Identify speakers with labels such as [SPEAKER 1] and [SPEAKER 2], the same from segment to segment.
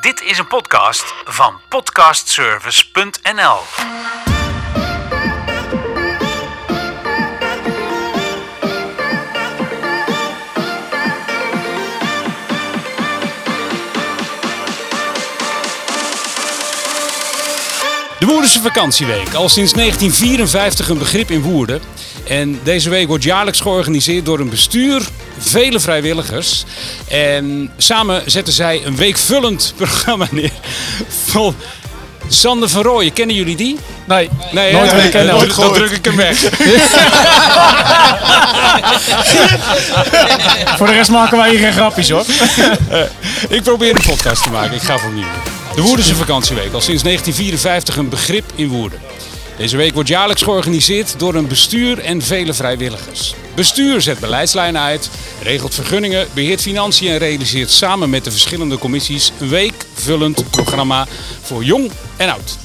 [SPEAKER 1] Dit is een podcast van podcastservice.nl.
[SPEAKER 2] De Woerdense vakantieweek, al sinds 1954 een begrip in Woerden. En deze week wordt jaarlijks georganiseerd door een bestuur, vele vrijwilligers. En samen zetten zij een weekvullend programma neer. Vol Sander van Rooyen, kennen jullie die?
[SPEAKER 3] Nee,
[SPEAKER 2] Nee,
[SPEAKER 3] Nooit
[SPEAKER 2] hè?
[SPEAKER 3] meer kennen.
[SPEAKER 2] Dan-
[SPEAKER 3] Nooit
[SPEAKER 2] Dan druk ik hem weg.
[SPEAKER 3] voor de rest maken wij hier geen grapjes hoor.
[SPEAKER 2] Ik probeer een podcast te maken, ik ga voor nieuw. De Woerdense vakantieweek, al sinds 1954 een begrip in Woerden. Deze week wordt jaarlijks georganiseerd door een bestuur en vele vrijwilligers. Bestuur zet beleidslijnen uit, regelt vergunningen, beheert financiën en realiseert samen met de verschillende commissies een weekvullend programma voor jong en oud.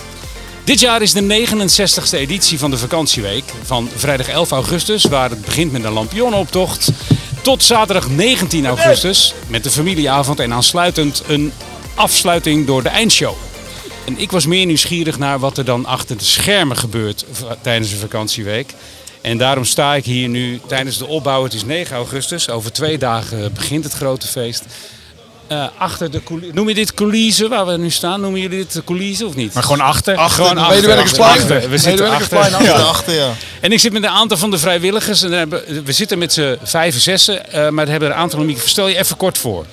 [SPEAKER 2] Dit jaar is de 69e editie van de vakantieweek. Van vrijdag 11 augustus, waar het begint met een lampionnenoptocht, tot zaterdag 19 augustus met de familieavond en aansluitend een afsluiting door de eindshow. En ik was meer nieuwsgierig naar wat er dan achter de schermen gebeurt v- tijdens de vakantieweek. En daarom sta ik hier nu tijdens de opbouw. Het is 9 augustus. Over twee dagen begint het grote feest. Eh, achter de coulissen. Noem je dit coulissen waar we nu staan? Noemen jullie dit coulissen of niet?
[SPEAKER 3] Maar gewoon achter.
[SPEAKER 2] Gewoon achter.
[SPEAKER 4] medewerkersplein.
[SPEAKER 2] Achter. We zitten achter.
[SPEAKER 4] Medewerkersplein achter. achter, ja.
[SPEAKER 2] En ik zit met een aantal van de vrijwilligers. En daar hebben- we zitten met z'n vijf en zessen, eh, maar er hebben er een aantal microfoons. Stel je even kort voor.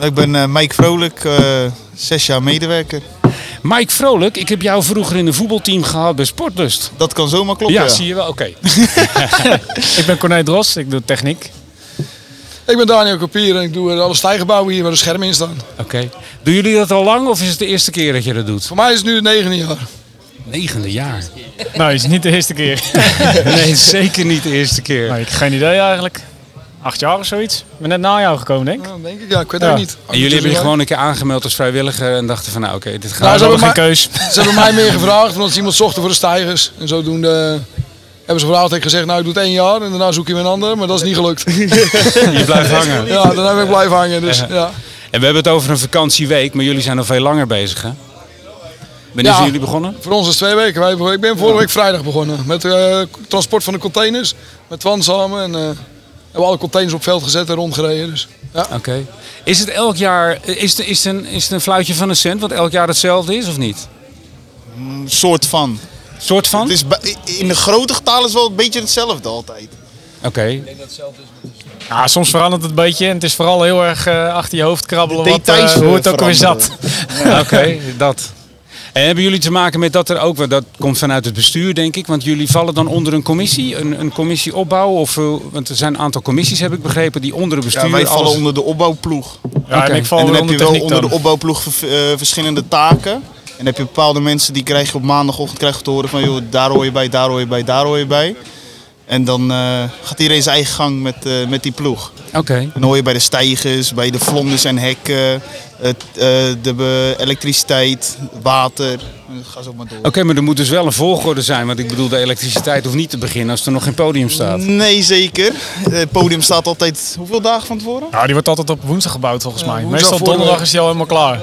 [SPEAKER 4] Ik ben eh, Mike Vrolijk, eh, zes jaar medewerker.
[SPEAKER 2] Mike Vrolijk, ik heb jou vroeger in een voetbalteam gehad bij Sportlust.
[SPEAKER 4] Dat kan zomaar kloppen.
[SPEAKER 2] ja,
[SPEAKER 4] ja.
[SPEAKER 2] zie je wel. Oké.
[SPEAKER 3] Ik ben Corné Dros, ik doe techniek.
[SPEAKER 5] Ik ben Daniel Kopier en ik doe eh, alle stijgenbouwen hier waar de schermen in staan.
[SPEAKER 2] Oké. Doen jullie dat al lang of is het de eerste keer dat je dat doet?
[SPEAKER 5] Voor mij is het nu het negende jaar.
[SPEAKER 2] Negende jaar.
[SPEAKER 3] Nou, is niet de eerste keer.
[SPEAKER 2] Nee, zeker niet de eerste keer.
[SPEAKER 3] Nee, ik heb geen idee eigenlijk. Acht jaar of zoiets. Ik ben net na jou gekomen, denk ik.
[SPEAKER 5] Ja, Ah, denk ik, ja, ik weet
[SPEAKER 3] Ja.
[SPEAKER 5] het ook niet.
[SPEAKER 2] En jullie hebben je gewoon een keer aangemeld als vrijwilliger en dachten van nou oké, dit
[SPEAKER 3] Nou,
[SPEAKER 2] gaat.
[SPEAKER 3] ze
[SPEAKER 5] ze
[SPEAKER 3] hebben geen
[SPEAKER 5] hebben
[SPEAKER 3] keus.
[SPEAKER 5] Ze hebben mij meer gevraagd omdat ze iemand zochten voor de stijgers. En zodoende eh, hebben ze gevraagd. Ik gezegd, nou ik doe het één jaar en daarna zoek je weer een ander. Maar dat is niet gelukt.
[SPEAKER 2] je blijft hangen.
[SPEAKER 5] Ja, daarna ben ik blijven hangen. Dus, ja.
[SPEAKER 2] En we hebben het over een vakantieweek, maar jullie zijn al veel langer bezig hè? Wanneer
[SPEAKER 5] Ja.
[SPEAKER 2] zijn jullie begonnen?
[SPEAKER 5] Voor ons is het twee weken. Wij- Ik ben vorige week vrijdag begonnen met eh, transport van de containers. Met Twan samen. En eh, hebben alle containers op veld gezet en rondgereden. Dus, ja.
[SPEAKER 2] Oké. Is het elk jaar, is het, is, het een, is het een fluitje van een cent wat elk jaar hetzelfde is of niet?
[SPEAKER 4] Een soort van.
[SPEAKER 2] Soort van?
[SPEAKER 4] Het is bij- in de grote getalen is wel een beetje hetzelfde altijd.
[SPEAKER 2] Oké.
[SPEAKER 3] Ja, soms verandert het een beetje en het is vooral heel erg eh, achter je hoofd krabbelen.
[SPEAKER 4] De
[SPEAKER 3] Wat,
[SPEAKER 4] details,
[SPEAKER 3] eh, hoe het
[SPEAKER 4] eh,
[SPEAKER 3] ook alweer
[SPEAKER 4] veranderen.
[SPEAKER 3] zat.
[SPEAKER 2] Oké, dat. En hebben jullie te maken met dat er ook, want dat komt vanuit het bestuur denk ik, want jullie vallen dan onder een commissie, een, een commissie opbouwen of, eh, want er zijn een aantal commissies heb ik begrepen die onder het bestuur
[SPEAKER 4] Ja, wij vallen
[SPEAKER 2] alles-
[SPEAKER 4] onder de opbouwploeg.
[SPEAKER 3] Ja,
[SPEAKER 2] Oké.
[SPEAKER 3] en ik val
[SPEAKER 4] en dan
[SPEAKER 3] weer
[SPEAKER 4] heb je
[SPEAKER 3] onder
[SPEAKER 4] wel
[SPEAKER 3] techniek
[SPEAKER 4] onder
[SPEAKER 3] dan.
[SPEAKER 4] de opbouwploeg ver- eh, verschillende taken. En dan heb je bepaalde mensen die krijg je op maandagochtend krijg je te horen van joh, daar hoor je bij, daar hoor je bij, daar hoor je bij. En dan eh, gaat iedereen zijn eigen gang met, eh, met die ploeg.
[SPEAKER 2] Oké.
[SPEAKER 4] Dan hoor je bij de stijgers, bij de vlonders en hekken, het, eh, de be- elektriciteit, water. Ga zo maar door.
[SPEAKER 2] Oké, maar er moet dus wel een volgorde zijn, want ik bedoel de elektriciteit hoeft niet te beginnen als er nog geen podium staat.
[SPEAKER 4] Nee, zeker. Eh, Het podium staat altijd hoeveel dagen van tevoren?
[SPEAKER 3] Ja, die wordt altijd op woensdag gebouwd volgens mij.
[SPEAKER 5] woensdag
[SPEAKER 3] Meestal
[SPEAKER 5] voor de-
[SPEAKER 3] donderdag is die al helemaal klaar.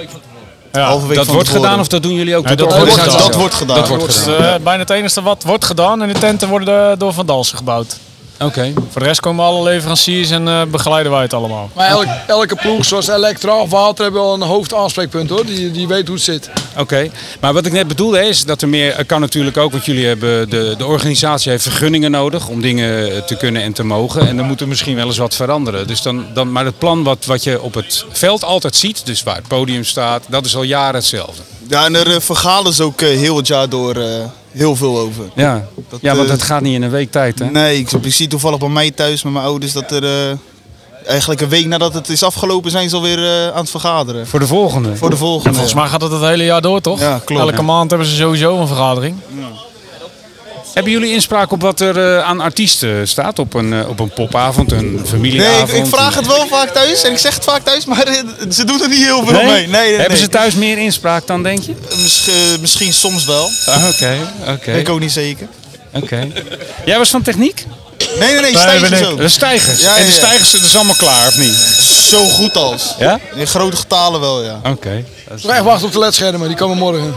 [SPEAKER 3] Ja.
[SPEAKER 4] Halve week
[SPEAKER 2] Dat
[SPEAKER 4] van
[SPEAKER 2] wordt
[SPEAKER 4] tevoren.
[SPEAKER 2] gedaan of dat doen jullie ook?
[SPEAKER 3] Nee,
[SPEAKER 2] door de
[SPEAKER 3] dat wordt
[SPEAKER 4] dat,
[SPEAKER 2] organisatie
[SPEAKER 3] gedaan.
[SPEAKER 4] dat
[SPEAKER 2] zelf?
[SPEAKER 4] wordt gedaan.
[SPEAKER 2] Dat wordt
[SPEAKER 3] Dat is
[SPEAKER 2] gedaan.
[SPEAKER 3] eh, bijna het enige wat wordt gedaan en de tenten worden eh, door Van Dalsen gebouwd.
[SPEAKER 2] Oké.
[SPEAKER 3] Voor de rest komen alle leveranciers en eh, begeleiden wij het allemaal.
[SPEAKER 5] Maar elk, elke ploeg, zoals Elektra of Water, hebben wel een hoofdaanspreekpunt hoor. Die, die weet hoe het zit.
[SPEAKER 2] Oké, maar wat ik net bedoelde is dat er meer er kan natuurlijk ook, want jullie hebben de, de organisatie heeft vergunningen nodig om dingen eh, te kunnen en te mogen. En dan moet er misschien wel eens wat veranderen. Dus dan, dan, maar het plan wat, wat je op het veld altijd ziet, dus waar het podium staat, dat is al jaren hetzelfde.
[SPEAKER 4] Ja, en er eh, vergaderen ze ook eh, heel het jaar door eh, heel veel over.
[SPEAKER 2] Ja,
[SPEAKER 4] Dat,
[SPEAKER 2] ja want
[SPEAKER 4] eh,
[SPEAKER 2] dat gaat niet in een week tijd. Hè?
[SPEAKER 4] Nee, ik, ik zie toevallig bij mij thuis met mijn ouders dat er eh, eigenlijk een week nadat het is afgelopen zijn ze alweer eh, aan het vergaderen.
[SPEAKER 2] Voor de volgende.
[SPEAKER 4] Voor de volgende.
[SPEAKER 3] Volgens mij gaat het het hele jaar door, toch?
[SPEAKER 4] Ja, klopt.
[SPEAKER 3] Elke
[SPEAKER 4] Ja.
[SPEAKER 3] maand hebben ze sowieso een vergadering.
[SPEAKER 2] Hebben jullie inspraak op wat er eh, aan artiesten staat? Op een, eh, op een popavond, een
[SPEAKER 4] Nee, ik,
[SPEAKER 2] familieavond?
[SPEAKER 4] ik vraag het wel vaak thuis en ik zeg het vaak thuis, maar eh, ze doen er niet heel veel
[SPEAKER 2] Nee?
[SPEAKER 4] mee. Nee, nee,
[SPEAKER 2] Hebben
[SPEAKER 4] nee.
[SPEAKER 2] ze thuis meer inspraak dan, denk je?
[SPEAKER 4] Miss- eh, misschien soms wel.
[SPEAKER 2] Ah, Oké, oké.
[SPEAKER 4] Ik ook niet zeker.
[SPEAKER 2] Oké. Jij was van techniek?
[SPEAKER 4] Nee, nee, nee,
[SPEAKER 3] Nee,
[SPEAKER 4] stijgen
[SPEAKER 3] nee,
[SPEAKER 4] zo.
[SPEAKER 2] De stijgers.
[SPEAKER 4] Ja, ja,
[SPEAKER 2] En de
[SPEAKER 4] ja.
[SPEAKER 2] stijgers, dat is allemaal klaar, of niet?
[SPEAKER 4] Zo goed als.
[SPEAKER 2] Ja?
[SPEAKER 4] In grote getalen wel, ja.
[SPEAKER 2] Oké.
[SPEAKER 5] Nog even wachten op de ledschermen, die komen morgen.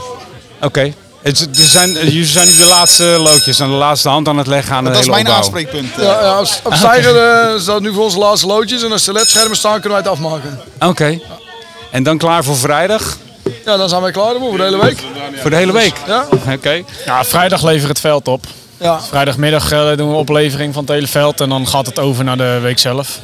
[SPEAKER 2] Oké. Het- er zijn, eh, jullie zijn nu de laatste loodjes en de laatste hand aan het leggen aan de
[SPEAKER 4] Dat is
[SPEAKER 2] hele
[SPEAKER 4] mijn
[SPEAKER 2] opbouw.
[SPEAKER 4] aanspreekpunt. eh.
[SPEAKER 5] Ja, ja, als- op stijger eh, staat nu voor onze laatste loodjes en als de ledschermen staan kunnen wij het afmaken.
[SPEAKER 2] Oké. En dan klaar voor vrijdag?
[SPEAKER 5] Ja, dan zijn wij klaar ervoor voor de hele week.
[SPEAKER 2] Voor de hele week?
[SPEAKER 5] Ja?
[SPEAKER 2] Oké.
[SPEAKER 3] Ja, vrijdag leveren het veld op.
[SPEAKER 5] Ja.
[SPEAKER 3] Vrijdagmiddag eh, doen we oplevering van het hele veld en dan gaat het over naar de week zelf.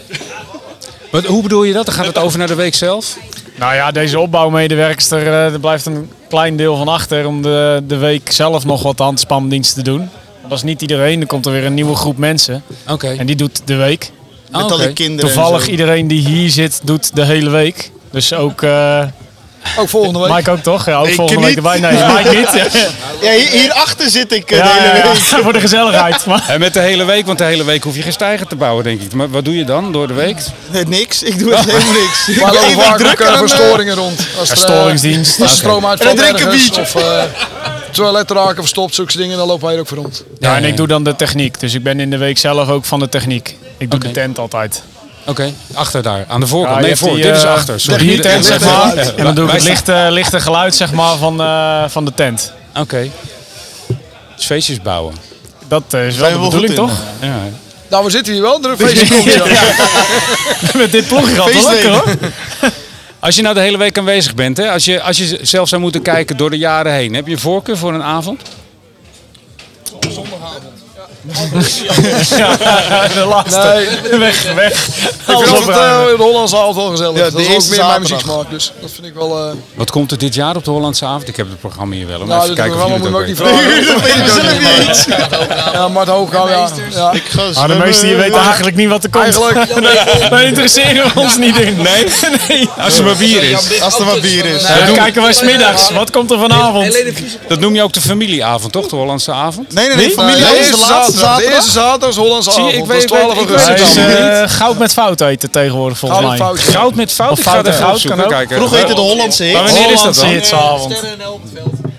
[SPEAKER 2] Wat, hoe bedoel je dat? Dan gaat het over naar de week zelf?
[SPEAKER 3] Nou ja, deze opbouwmedewerkster, eh, er blijft een klein deel van achter om de, de week zelf nog wat handspamdiensten te doen. Dat is niet iedereen, er komt er weer een nieuwe groep mensen
[SPEAKER 2] Oké.
[SPEAKER 3] en die doet de week.
[SPEAKER 2] Ah,
[SPEAKER 4] Met alle
[SPEAKER 2] oké.
[SPEAKER 4] kinderen. en
[SPEAKER 3] Toevallig
[SPEAKER 4] zo.
[SPEAKER 3] iedereen die hier zit doet de hele week. Dus ook eh
[SPEAKER 5] Ook volgende week.
[SPEAKER 3] Mike ook toch? Ja, ook
[SPEAKER 4] Ik
[SPEAKER 3] volgende week
[SPEAKER 4] niet.
[SPEAKER 3] erbij. Nee, Mike niet. Ja,
[SPEAKER 4] Ja, hier- hierachter zit ik eh, de
[SPEAKER 3] ja,
[SPEAKER 4] hele
[SPEAKER 3] ja,
[SPEAKER 4] week.
[SPEAKER 3] voor de gezelligheid. Maar.
[SPEAKER 2] En met de hele week, want de hele week hoef je geen stijger te bouwen, denk ik. Maar wat doe je dan door de week?
[SPEAKER 4] Nee, niks. Ik doe echt helemaal niks. Ik
[SPEAKER 5] Maar
[SPEAKER 4] ben
[SPEAKER 5] lopen
[SPEAKER 4] iedere
[SPEAKER 5] vaak
[SPEAKER 4] druk
[SPEAKER 5] ook eh,
[SPEAKER 4] aan
[SPEAKER 5] voor
[SPEAKER 4] het, eh,
[SPEAKER 5] storingen rond. Als er, eh,
[SPEAKER 3] storingsdienst.
[SPEAKER 5] Als de
[SPEAKER 2] Oké.
[SPEAKER 5] stroom
[SPEAKER 4] En
[SPEAKER 5] uitvalt
[SPEAKER 4] dan drink ik een
[SPEAKER 5] ergens,
[SPEAKER 4] biertje.
[SPEAKER 5] Of eh toiletraken verstopt, zulke dingen, dan lopen wij er ook voor rond.
[SPEAKER 3] Ja, en ik doe dan de techniek. Dus ik ben in de week zelf ook van de techniek. Ik doe
[SPEAKER 2] Oké.
[SPEAKER 3] de tent altijd.
[SPEAKER 2] Oké, achter daar, aan de voorkant.
[SPEAKER 3] Ja, je
[SPEAKER 2] nee,
[SPEAKER 3] hebt
[SPEAKER 2] voor,
[SPEAKER 3] die,
[SPEAKER 2] dit is
[SPEAKER 3] eh,
[SPEAKER 2] achter.
[SPEAKER 3] De
[SPEAKER 2] Sorry.
[SPEAKER 3] biertent,
[SPEAKER 2] Hier-
[SPEAKER 3] zeg maar.
[SPEAKER 2] Ja,
[SPEAKER 3] En dan doe ik
[SPEAKER 2] wij
[SPEAKER 3] het
[SPEAKER 2] staan-
[SPEAKER 3] lichte, lichte geluid zeg maar, van, eh, van de tent.
[SPEAKER 2] Oké. Dus feestjes bouwing.
[SPEAKER 3] Dat eh, is wel
[SPEAKER 4] Zijn
[SPEAKER 3] de
[SPEAKER 4] we wel
[SPEAKER 3] bedoeling,
[SPEAKER 4] goed in,
[SPEAKER 3] toch?
[SPEAKER 2] Ja.
[SPEAKER 5] Nou, we zitten hier wel. Er een feestje komt, ja.
[SPEAKER 3] Met dit ploegje gaat het wel
[SPEAKER 4] Feestweek.
[SPEAKER 3] lukken, hoor.
[SPEAKER 2] Als je nou de hele week aanwezig bent, hè? Als, je, als je zelf zou moeten kijken door de jaren heen, heb je voorkeur voor een avond?
[SPEAKER 3] De laatste.
[SPEAKER 5] Nee,
[SPEAKER 3] Weg, weg.
[SPEAKER 5] Ik
[SPEAKER 3] Alles
[SPEAKER 5] vind altijd
[SPEAKER 3] opruimen.
[SPEAKER 5] eh, de Hollandse avond wel gezellig.
[SPEAKER 4] Ja, de
[SPEAKER 5] dat is ook meer
[SPEAKER 4] eerste
[SPEAKER 5] mijn
[SPEAKER 4] zaterdag.
[SPEAKER 5] muzieksmaak, dus dat vind ik wel... eh
[SPEAKER 2] Wat komt er dit jaar op de Hollandse avond? Ik heb het programma hier wel. Maar
[SPEAKER 5] nou,
[SPEAKER 2] even
[SPEAKER 5] dat
[SPEAKER 2] kijken of
[SPEAKER 5] programma
[SPEAKER 2] jullie
[SPEAKER 5] moet
[SPEAKER 2] het
[SPEAKER 5] ik
[SPEAKER 2] ook
[SPEAKER 5] ook niet
[SPEAKER 2] weten.
[SPEAKER 5] vragen.
[SPEAKER 4] Dat weet ik zelf niet eens.
[SPEAKER 5] Ja, Mart Hoogkamer, ja. ja.
[SPEAKER 4] Ik ga
[SPEAKER 3] Ah, de
[SPEAKER 4] zwemmen.
[SPEAKER 3] meeste hier weten eigenlijk niet wat er komt.
[SPEAKER 5] Eigenlijk, ja,
[SPEAKER 3] Nee, Wij interesseren ons niet in. Nee? nee.
[SPEAKER 2] Als er maar bier is.
[SPEAKER 4] Als er wat bier is.
[SPEAKER 3] Ja, dan kijken wij smiddags. Wat komt er vanavond?
[SPEAKER 2] Dat noem je ook de familieavond, toch? De Hollandse avond?
[SPEAKER 4] Nee, nee, nee.
[SPEAKER 3] Nee?
[SPEAKER 4] van-
[SPEAKER 5] de
[SPEAKER 4] dat is
[SPEAKER 5] eerste
[SPEAKER 4] de laatste
[SPEAKER 5] zaterdag. De
[SPEAKER 4] zaterdag.
[SPEAKER 5] eerste zaterdag is Hollandse
[SPEAKER 2] Zie je,
[SPEAKER 5] avond.
[SPEAKER 2] ik
[SPEAKER 5] dat is
[SPEAKER 2] weet- ik
[SPEAKER 5] 12
[SPEAKER 2] weet- ik
[SPEAKER 5] augustus.
[SPEAKER 3] Hij is
[SPEAKER 5] Ja,
[SPEAKER 3] eh, goud met fout heet het tegenwoordig volgens
[SPEAKER 5] Gouden
[SPEAKER 3] mij.
[SPEAKER 5] fout.
[SPEAKER 2] Goud met fout?
[SPEAKER 3] Of
[SPEAKER 2] Ik
[SPEAKER 3] fout
[SPEAKER 2] ga er
[SPEAKER 3] en
[SPEAKER 2] goud
[SPEAKER 3] goud
[SPEAKER 2] zoeken.
[SPEAKER 3] kan ook.
[SPEAKER 2] kijken.
[SPEAKER 4] Vroeger heette de Hollandse
[SPEAKER 2] Maar
[SPEAKER 4] hit.
[SPEAKER 2] wanneer is dat
[SPEAKER 3] Hollandse
[SPEAKER 2] dan?
[SPEAKER 3] hitsavond.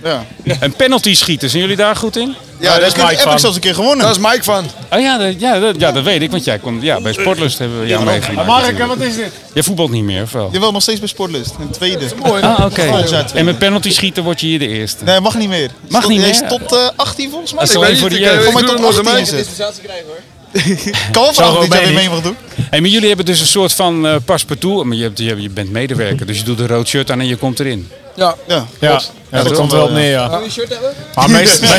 [SPEAKER 4] Ja,
[SPEAKER 2] En eh, penalty schieten, zijn jullie daar goed in?
[SPEAKER 4] ja
[SPEAKER 3] dat
[SPEAKER 4] dat
[SPEAKER 3] is
[SPEAKER 4] heb
[SPEAKER 3] Mike
[SPEAKER 4] ik
[SPEAKER 3] van.
[SPEAKER 4] zelfs een keer gewonnen.
[SPEAKER 5] Daar is Mike van.
[SPEAKER 2] Oh ja, dat, ja, dat, ja, dat weet ik, want jij kon, ja, bij Sportlust hebben we jou meegemaakt. natuurlijk.
[SPEAKER 3] wat is dit?
[SPEAKER 2] Jij voetbalt niet meer, of wel?
[SPEAKER 4] Jawel, nog steeds bij Sportlist. Een tweede.
[SPEAKER 5] Mooi.
[SPEAKER 2] Ah, oké.
[SPEAKER 4] Volgend jaar tweede.
[SPEAKER 2] En met penalty schieten word je hier de eerste.
[SPEAKER 4] Nee, mag niet meer.
[SPEAKER 2] Mag
[SPEAKER 4] Tot-
[SPEAKER 2] niet
[SPEAKER 4] hij
[SPEAKER 2] meer?
[SPEAKER 4] is tot eh, 18 volgens mij.
[SPEAKER 2] Dat is
[SPEAKER 5] Ik
[SPEAKER 2] alleen
[SPEAKER 5] weet
[SPEAKER 2] voor
[SPEAKER 5] niet,
[SPEAKER 2] de
[SPEAKER 5] ik, eh,
[SPEAKER 2] jeugd.
[SPEAKER 4] Van mij
[SPEAKER 5] doe
[SPEAKER 4] tot
[SPEAKER 5] er
[SPEAKER 4] 18
[SPEAKER 5] nog mee.
[SPEAKER 4] is het. Kan wel vanavond dat jij weer mee mag doen.
[SPEAKER 2] Hey, maar jullie hebben dus een soort van eh paspartout. Maar je, hebt, je, hebt- je bent medewerker, dus je doet een rood shirt aan en je komt erin.
[SPEAKER 5] Ja.
[SPEAKER 4] Ja.
[SPEAKER 3] Ja, ja, dat
[SPEAKER 4] dat
[SPEAKER 3] komt
[SPEAKER 4] komt
[SPEAKER 3] wel op
[SPEAKER 4] wel, ja.
[SPEAKER 3] neer, ja.
[SPEAKER 5] Wil je shirt hebben? Nou,
[SPEAKER 3] Maar meestal,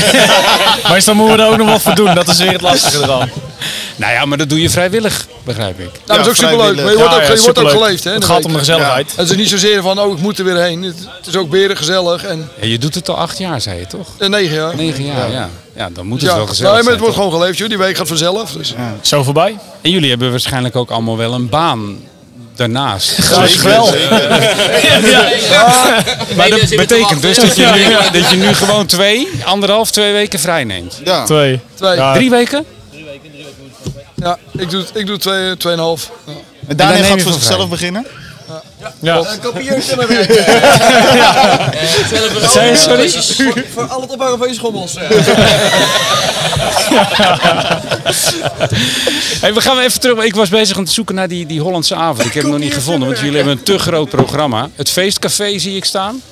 [SPEAKER 3] meestal moeten we er ook nog wat voor doen. Dat is weer het lastige eraan.
[SPEAKER 2] Nou ja, maar dat doe je vrijwillig, begrijp ik.
[SPEAKER 5] Nou, dat is
[SPEAKER 4] Ja,
[SPEAKER 5] ook superleuk. Maar je
[SPEAKER 4] vrijwillig.
[SPEAKER 5] wordt ook,
[SPEAKER 3] Ja, ja,
[SPEAKER 5] je wordt ook
[SPEAKER 3] superleuk.
[SPEAKER 5] geleefd, hè?
[SPEAKER 3] Het
[SPEAKER 5] de
[SPEAKER 3] gaat
[SPEAKER 5] week.
[SPEAKER 3] om de gezelligheid.
[SPEAKER 5] Het is niet zozeer van, oh, ik moet er weer heen. Het, het is ook weer gezellig en
[SPEAKER 2] En je doet het al acht jaar, zei je toch?
[SPEAKER 5] en negen jaar.
[SPEAKER 2] Negen jaar, ja. Ja, dan moet het
[SPEAKER 5] Ja,
[SPEAKER 2] wel
[SPEAKER 5] nee,
[SPEAKER 2] gezellig
[SPEAKER 5] maar
[SPEAKER 2] zijn.
[SPEAKER 5] het wordt
[SPEAKER 2] toch?
[SPEAKER 5] gewoon geleefd, joh. Die week gaat vanzelf. Dus.
[SPEAKER 3] Zo voorbij?
[SPEAKER 2] En jullie hebben waarschijnlijk ook allemaal wel een baan daarnaast.
[SPEAKER 3] Gelukkig wel.
[SPEAKER 2] Maar dat betekent dus dat je, nu, dat je nu gewoon twee, anderhalf, twee weken vrij neemt.
[SPEAKER 4] Ja.
[SPEAKER 3] Twee.
[SPEAKER 5] Twee.
[SPEAKER 3] Ja.
[SPEAKER 2] Drie weken?
[SPEAKER 5] Ja, ik doe, ik doe twee, tweeënhalf. Ja.
[SPEAKER 4] En Daniel
[SPEAKER 2] neem
[SPEAKER 4] gaat
[SPEAKER 2] je
[SPEAKER 4] voor
[SPEAKER 2] van
[SPEAKER 4] zichzelf beginnen.
[SPEAKER 3] Ja.
[SPEAKER 6] Kopieer schimmelwerk. Wat
[SPEAKER 2] zei je, sorry?
[SPEAKER 6] Voor, voor al het opbouwen van je schommels. eh.
[SPEAKER 2] Hey, we gaan even terug. Ik was bezig aan het zoeken naar die, die Hollandse avond. Ik heb hem nog niet gevonden, want jullie hebben een te groot programma. Het feestcafé zie ik staan.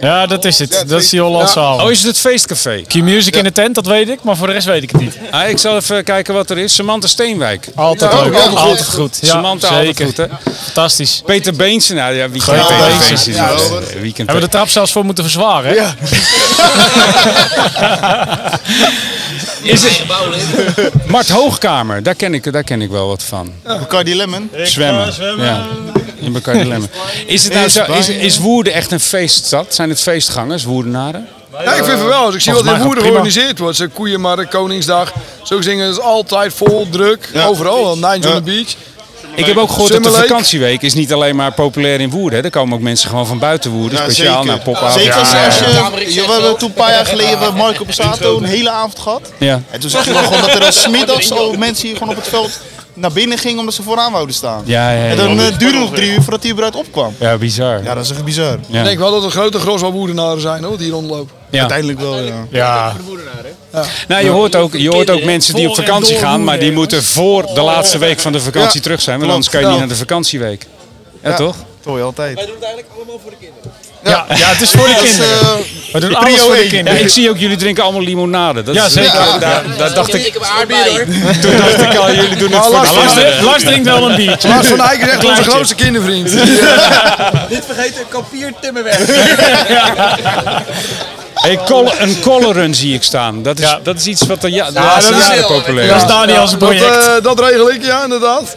[SPEAKER 3] ja, dat is het. Dat is die Hollandse avond.
[SPEAKER 2] Oh, is het het feestcafé?
[SPEAKER 3] Q-music in de tent, dat weet ik. Maar voor de rest weet ik het niet.
[SPEAKER 2] Ah, ik zal even kijken wat er is. Samantha Steenwijk.
[SPEAKER 3] Altijd
[SPEAKER 5] Ja,
[SPEAKER 3] leuk.
[SPEAKER 5] altijd goed.
[SPEAKER 3] Altijd goed. Ja,
[SPEAKER 2] Samantha,
[SPEAKER 3] zeker.
[SPEAKER 2] altijd goed, hè?
[SPEAKER 3] Fantastisch.
[SPEAKER 2] Peter Beensen, nou ja, wie kent
[SPEAKER 3] Peter
[SPEAKER 2] Peter
[SPEAKER 3] Beense.
[SPEAKER 2] Beense?
[SPEAKER 4] Ja,
[SPEAKER 2] niet?
[SPEAKER 4] hoor.
[SPEAKER 2] Eh, wie kent
[SPEAKER 3] Hebben we de trap zelfs voor moeten verzwaren, hè?
[SPEAKER 2] Is het... Mart Hoogkamer, daar ken, ik, daar ken ik wel wat van.
[SPEAKER 4] Bacardi Lemon.
[SPEAKER 2] Zwemmen.
[SPEAKER 3] zwemmen.
[SPEAKER 2] Ja. In Bacardi Lemmen. Is, het nou
[SPEAKER 4] Is
[SPEAKER 2] zo, is,
[SPEAKER 4] Spanje.
[SPEAKER 2] is Woerden echt een feeststad? Zijn het feestgangers, Woerdenaren?
[SPEAKER 5] Ja, ik vind het wel. Als ik zie
[SPEAKER 3] Volgens
[SPEAKER 5] wat
[SPEAKER 3] mij
[SPEAKER 5] in
[SPEAKER 3] gaat
[SPEAKER 5] Woerden
[SPEAKER 3] het prima.
[SPEAKER 5] georganiseerd wordt. Zo'n koeienmarkt, Koningsdag. Zulke dingen is altijd vol, druk. Overal. wel. Nines
[SPEAKER 4] Ja.
[SPEAKER 5] on the beach.
[SPEAKER 2] Ik heb ook gehoord dat de
[SPEAKER 5] Summerlake.
[SPEAKER 2] vakantieweek is niet alleen maar populair in Woerden. hè. Er komen ook mensen gewoon van buiten Woerden,
[SPEAKER 4] Ja,
[SPEAKER 2] speciaal naar popavond.
[SPEAKER 4] Zeker als,
[SPEAKER 2] Ja,
[SPEAKER 4] als
[SPEAKER 2] ja,
[SPEAKER 4] je... je- we hebben toen een paar jaar geleden bij Marco Passato een hele avond gehad.
[SPEAKER 2] ja.
[SPEAKER 4] En toen zag je dan gewoon dat er al smiddags al mensen hier gewoon op het veld naar binnen gingen omdat ze vooraan wouden staan.
[SPEAKER 2] Ja, ja, ja.
[SPEAKER 4] En dan eh, duurde het nog drie uur voordat hij überhaupt opkwam.
[SPEAKER 2] Ja, bizar.
[SPEAKER 4] Ja, dat is echt bizar.
[SPEAKER 5] Ik denk wel dat het grote gros wel Woerdenaren zijn hoor, die hier rondlopen.
[SPEAKER 2] Ja.
[SPEAKER 4] Uiteindelijk wel, ja.
[SPEAKER 3] Ja.
[SPEAKER 2] Nou, je hoort ook, je hoort ook mensen die op vakantie gaan, maar die moeten voor de laatste week van de vakantie
[SPEAKER 4] Ja,
[SPEAKER 2] terug zijn. Want
[SPEAKER 4] klopt.
[SPEAKER 2] anders kan je niet
[SPEAKER 4] Ja.
[SPEAKER 2] naar de vakantieweek. Ja, toch?
[SPEAKER 4] Tooi altijd.
[SPEAKER 6] Wij doen het eigenlijk allemaal voor de kinderen.
[SPEAKER 3] Ja, ja, het is voor de
[SPEAKER 4] Dat is,
[SPEAKER 3] kinderen.
[SPEAKER 4] eh,
[SPEAKER 3] We doen
[SPEAKER 4] prio
[SPEAKER 3] alles voor de
[SPEAKER 4] één.
[SPEAKER 2] Ja,
[SPEAKER 3] kinderen.
[SPEAKER 2] ik zie ook, jullie drinken allemaal limonade. Dat
[SPEAKER 3] Ja,
[SPEAKER 2] is-
[SPEAKER 3] zeker.
[SPEAKER 2] daar- daar- daar dacht ik,
[SPEAKER 6] Ik heb aardbeer hoor.
[SPEAKER 2] toen dacht ik al, jullie doen het voor de
[SPEAKER 5] Nou, Lars,
[SPEAKER 3] Lars,
[SPEAKER 2] laatste.
[SPEAKER 3] drinkt- Lars drinkt wel een biertje.
[SPEAKER 5] Lars van Eyck is echt onze
[SPEAKER 3] Kleintje.
[SPEAKER 5] grootste kindervriend.
[SPEAKER 6] Niet vergeten, kapier timmerwerk.
[SPEAKER 2] Hey, col- een colleran zie ik staan. Dat is,
[SPEAKER 3] eh, Ja.
[SPEAKER 2] dat is iets wat de, ja, de laatste
[SPEAKER 5] dat is
[SPEAKER 2] jaren
[SPEAKER 6] heel-
[SPEAKER 2] populair
[SPEAKER 3] Dat
[SPEAKER 2] is.
[SPEAKER 3] is Daniels
[SPEAKER 5] Dat,
[SPEAKER 3] project.
[SPEAKER 5] eh, dat regel ik, ja, inderdaad.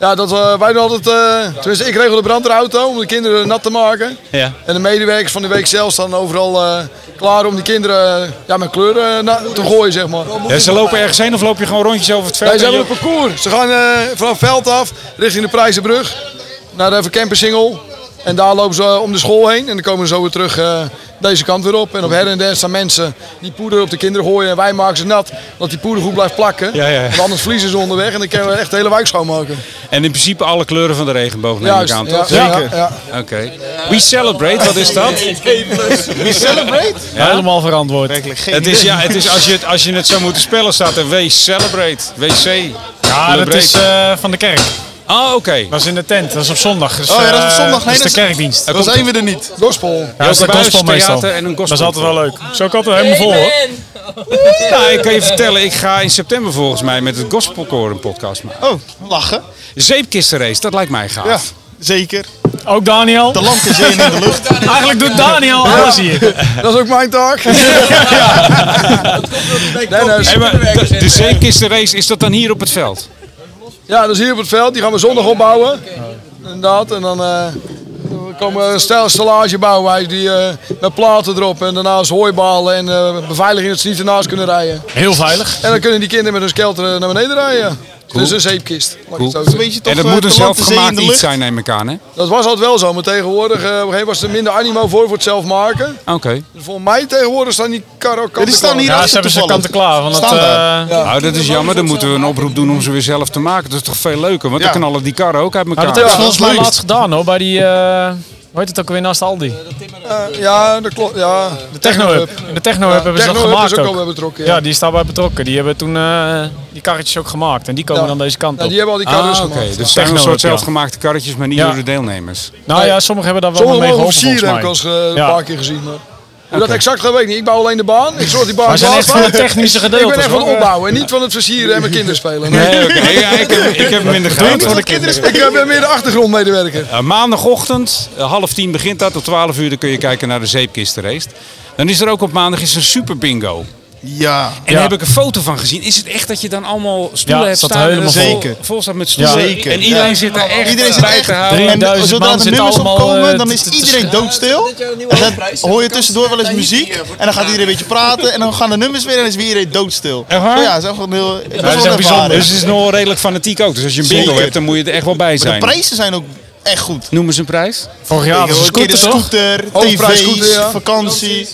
[SPEAKER 5] Ja, dat, eh, wij doen altijd, eh, tenminste ik regel de brandweerauto om de kinderen nat te maken.
[SPEAKER 2] Ja.
[SPEAKER 5] En de medewerkers van de week zelf staan overal eh, klaar om die kinderen eh, ja, met kleuren eh, na- te gooien, zeg maar.
[SPEAKER 2] Ja, ze lopen ergens heen of loop je gewoon rondjes over het veld?
[SPEAKER 5] Wij zijn
[SPEAKER 2] en
[SPEAKER 5] op
[SPEAKER 2] je-
[SPEAKER 5] een parcours. Ze gaan eh, vanaf veld af richting de Prijzenbrug naar de Verkempersingel. En daar lopen ze eh, om de school heen en dan komen ze zo weer terug eh, deze kant weer op. En op her en der staan mensen die poeder op de kinderen gooien en wij maken ze nat. Dat die poeder goed blijft plakken.
[SPEAKER 2] Ja, ja.
[SPEAKER 5] Want anders verliezen ze onderweg en dan kunnen we echt de hele wijk schoonmaken.
[SPEAKER 2] En in principe alle kleuren van de regenboog neem ik
[SPEAKER 5] Juist,
[SPEAKER 2] aan, toch?
[SPEAKER 5] ja, ja, ja.
[SPEAKER 2] Oké. We celebrate, wat is dat?
[SPEAKER 4] We celebrate?
[SPEAKER 3] Helemaal verantwoord.
[SPEAKER 4] Werkelijk geen
[SPEAKER 2] Het is, ja, het is als, je het, als je het zou moeten spellen, staat er W celebrate. WC.
[SPEAKER 3] Ja, dat is eh, van de kerk.
[SPEAKER 2] Ah, oké.
[SPEAKER 3] Dat is in de tent. Dat is op zondag. Dus,
[SPEAKER 4] Oh ja, dat is op
[SPEAKER 3] eh,
[SPEAKER 4] zondag. Nee,
[SPEAKER 3] dat is de
[SPEAKER 4] dat is-
[SPEAKER 3] kerkdienst.
[SPEAKER 4] Dan zijn we er niet.
[SPEAKER 5] Gospel.
[SPEAKER 3] Ja, dat is de
[SPEAKER 2] Joop
[SPEAKER 3] gospel
[SPEAKER 2] Buijs,
[SPEAKER 3] meestal.
[SPEAKER 2] theater en een
[SPEAKER 3] Dat
[SPEAKER 2] gospel.
[SPEAKER 3] is altijd wel leuk. Zo kan het helemaal vol hoor.
[SPEAKER 2] Nou, ik kan je vertellen, ik ga in september volgens mij met het Gospelkoor een podcast maken.
[SPEAKER 4] Oh, lachen.
[SPEAKER 2] Zeepkistenrace, dat lijkt mij gaaf.
[SPEAKER 4] Ja, zeker.
[SPEAKER 3] Ook Daniel.
[SPEAKER 4] De land is één in de lucht.
[SPEAKER 3] Eigenlijk doet Daniel alles hier.
[SPEAKER 5] Dat is ook mijn taak.
[SPEAKER 6] Bij
[SPEAKER 5] nee.
[SPEAKER 6] kapier
[SPEAKER 2] Hey, maar
[SPEAKER 6] timmerwerk
[SPEAKER 2] de, de
[SPEAKER 6] zitten.
[SPEAKER 2] zeepkistenrace, is dat dan hier op het veld?
[SPEAKER 5] Ja, dat is hier op het veld. Die gaan we zondag opbouwen. Inderdaad. En dan eh, we komen een stel stelagebouwwijs die eh, met platen erop. En daarnaast hooibalen en eh, beveiliging dat ze niet ernaast kunnen rijden.
[SPEAKER 3] Heel veilig.
[SPEAKER 5] En dan kunnen die kinderen met hun skelter eh, naar beneden rijden. Dus een zeepkist. laat ik het zo
[SPEAKER 2] Cool.
[SPEAKER 5] zeggen.
[SPEAKER 4] Beetje toch,
[SPEAKER 2] En dat
[SPEAKER 4] eh,
[SPEAKER 2] moet een
[SPEAKER 4] de land is één in de
[SPEAKER 2] zelfgemaakt iets
[SPEAKER 4] lucht.
[SPEAKER 2] zijn, neem ik aan, hè?
[SPEAKER 5] Dat was altijd wel zo, maar tegenwoordig eh, op een gegeven moment was er minder animo voor voor het zelf maken.
[SPEAKER 2] Oké.
[SPEAKER 5] Dus volgens mij tegenwoordig staan die karren ook
[SPEAKER 4] Ja, die staan hier
[SPEAKER 3] Ja,
[SPEAKER 4] achter
[SPEAKER 3] ze hebben ze
[SPEAKER 4] toevallig.
[SPEAKER 3] kanten klaar. Want dat,
[SPEAKER 4] Standaard.
[SPEAKER 3] eh,
[SPEAKER 2] Nou, dat is jammer. Dan moeten we een oproep doen om ze weer zelf te maken. Dat is toch veel leuker, want
[SPEAKER 4] Ja.
[SPEAKER 2] dan knallen die karren ook uit
[SPEAKER 3] nou,
[SPEAKER 2] elkaar.
[SPEAKER 3] dat hebben
[SPEAKER 4] Ja,
[SPEAKER 3] ze
[SPEAKER 4] dat
[SPEAKER 3] volgens
[SPEAKER 4] is
[SPEAKER 3] mij
[SPEAKER 4] leuk.
[SPEAKER 3] laatst gedaan hoor. Bij die... eh, hoe heet het ook weer naast de Aldi?
[SPEAKER 5] Eh, ja, dat klopt. Ja.
[SPEAKER 3] De Technohub. In de Technohub hebben ze dat
[SPEAKER 5] Techno is
[SPEAKER 3] gemaakt
[SPEAKER 5] ook al
[SPEAKER 3] ook.
[SPEAKER 5] bij betrokken.
[SPEAKER 3] Ja, die is daarbij betrokken. Die hebben toen eh, die karretjes ook gemaakt. En die komen
[SPEAKER 5] Ja.
[SPEAKER 3] dan deze kant
[SPEAKER 5] Ja,
[SPEAKER 3] op.
[SPEAKER 5] die hebben al die karren dus
[SPEAKER 2] Ah, oké.
[SPEAKER 5] gemaakt.
[SPEAKER 2] Dus het zijn een
[SPEAKER 3] Techno,
[SPEAKER 2] soort
[SPEAKER 3] ja.
[SPEAKER 2] zelfgemaakte karretjes, maar niet
[SPEAKER 3] Ja.
[SPEAKER 2] door de deelnemers.
[SPEAKER 3] Nou ja, sommigen hebben daar wel
[SPEAKER 5] Sommige
[SPEAKER 3] mee
[SPEAKER 5] mogen
[SPEAKER 3] geholpen volgens
[SPEAKER 5] officieren heb ik
[SPEAKER 3] mij.
[SPEAKER 5] al eens, eh,
[SPEAKER 3] Ja.
[SPEAKER 5] een paar keer gezien. Maar. Hoe dat exact gaat weet ik niet. Ik bouw alleen de baan. Ik zorg die baan
[SPEAKER 3] Maar ze zijn
[SPEAKER 5] klaar
[SPEAKER 3] echt van de
[SPEAKER 5] staat.
[SPEAKER 3] technische
[SPEAKER 5] Ik ben
[SPEAKER 3] gedeeltes.
[SPEAKER 5] echt van het
[SPEAKER 3] hoor.
[SPEAKER 5] opbouwen en niet van het versieren en mijn kinderen spelen.
[SPEAKER 2] Nee, oké. Ja, ik, heb, ik heb hem in de gaten.
[SPEAKER 5] Ik eh, ben meer de achtergrondmedewerker.
[SPEAKER 2] Eh, maandagochtend, eh, half tien begint dat. Tot twaalf uur dan kun je kijken naar de zeepkistenrace. Dan is er ook op maandag is een super bingo.
[SPEAKER 4] Ja.
[SPEAKER 2] En
[SPEAKER 3] Ja.
[SPEAKER 2] daar heb ik een foto van gezien. Is het echt dat je dan allemaal stoelen
[SPEAKER 3] Ja,
[SPEAKER 2] hebt
[SPEAKER 3] staat
[SPEAKER 2] staan? en
[SPEAKER 3] helemaal
[SPEAKER 2] vol,
[SPEAKER 4] Zeker.
[SPEAKER 2] vol staat met stoelen.
[SPEAKER 3] Ja.
[SPEAKER 4] Zeker.
[SPEAKER 2] En iedereen
[SPEAKER 4] Ja.
[SPEAKER 2] zit daar echt
[SPEAKER 4] Iedereen zit
[SPEAKER 2] bij
[SPEAKER 4] echt-
[SPEAKER 2] te houden.
[SPEAKER 4] En
[SPEAKER 3] 3000
[SPEAKER 4] zodra
[SPEAKER 3] man
[SPEAKER 4] de
[SPEAKER 3] zit
[SPEAKER 4] nummers
[SPEAKER 3] allemaal,
[SPEAKER 4] opkomen,
[SPEAKER 3] eh,
[SPEAKER 4] dan
[SPEAKER 3] te-
[SPEAKER 4] is
[SPEAKER 3] te
[SPEAKER 4] iedereen doodstil.
[SPEAKER 6] Dit jaar een nieuwe
[SPEAKER 4] En dan
[SPEAKER 6] hoofdprijs.
[SPEAKER 4] hoor je tussendoor wel eens muziek. En dan gaat iedereen een beetje praten. En dan gaan de nummers weer en dan is weer iedereen doodstil.
[SPEAKER 2] Echt waar?
[SPEAKER 4] Zo Ja, dat is echt een heel... Dat is
[SPEAKER 3] is
[SPEAKER 4] wel
[SPEAKER 3] echt
[SPEAKER 4] een
[SPEAKER 3] bijzonder.
[SPEAKER 4] ervaring.
[SPEAKER 2] Dus het is nog wel redelijk fanatiek ook. Dus als je een bingo
[SPEAKER 4] Zeker.
[SPEAKER 2] hebt, dan moet je er echt wel bij
[SPEAKER 4] Maar de
[SPEAKER 2] zijn.
[SPEAKER 4] prijzen zijn ook echt goed.
[SPEAKER 2] Noem eens een prijs.
[SPEAKER 3] Vorig jaar
[SPEAKER 4] Ik
[SPEAKER 3] was een
[SPEAKER 4] heb een keer de
[SPEAKER 3] scooter toch?
[SPEAKER 4] scooter,
[SPEAKER 5] Hoofdprijs
[SPEAKER 4] tv's,
[SPEAKER 5] scooter, ja.
[SPEAKER 4] vakantie.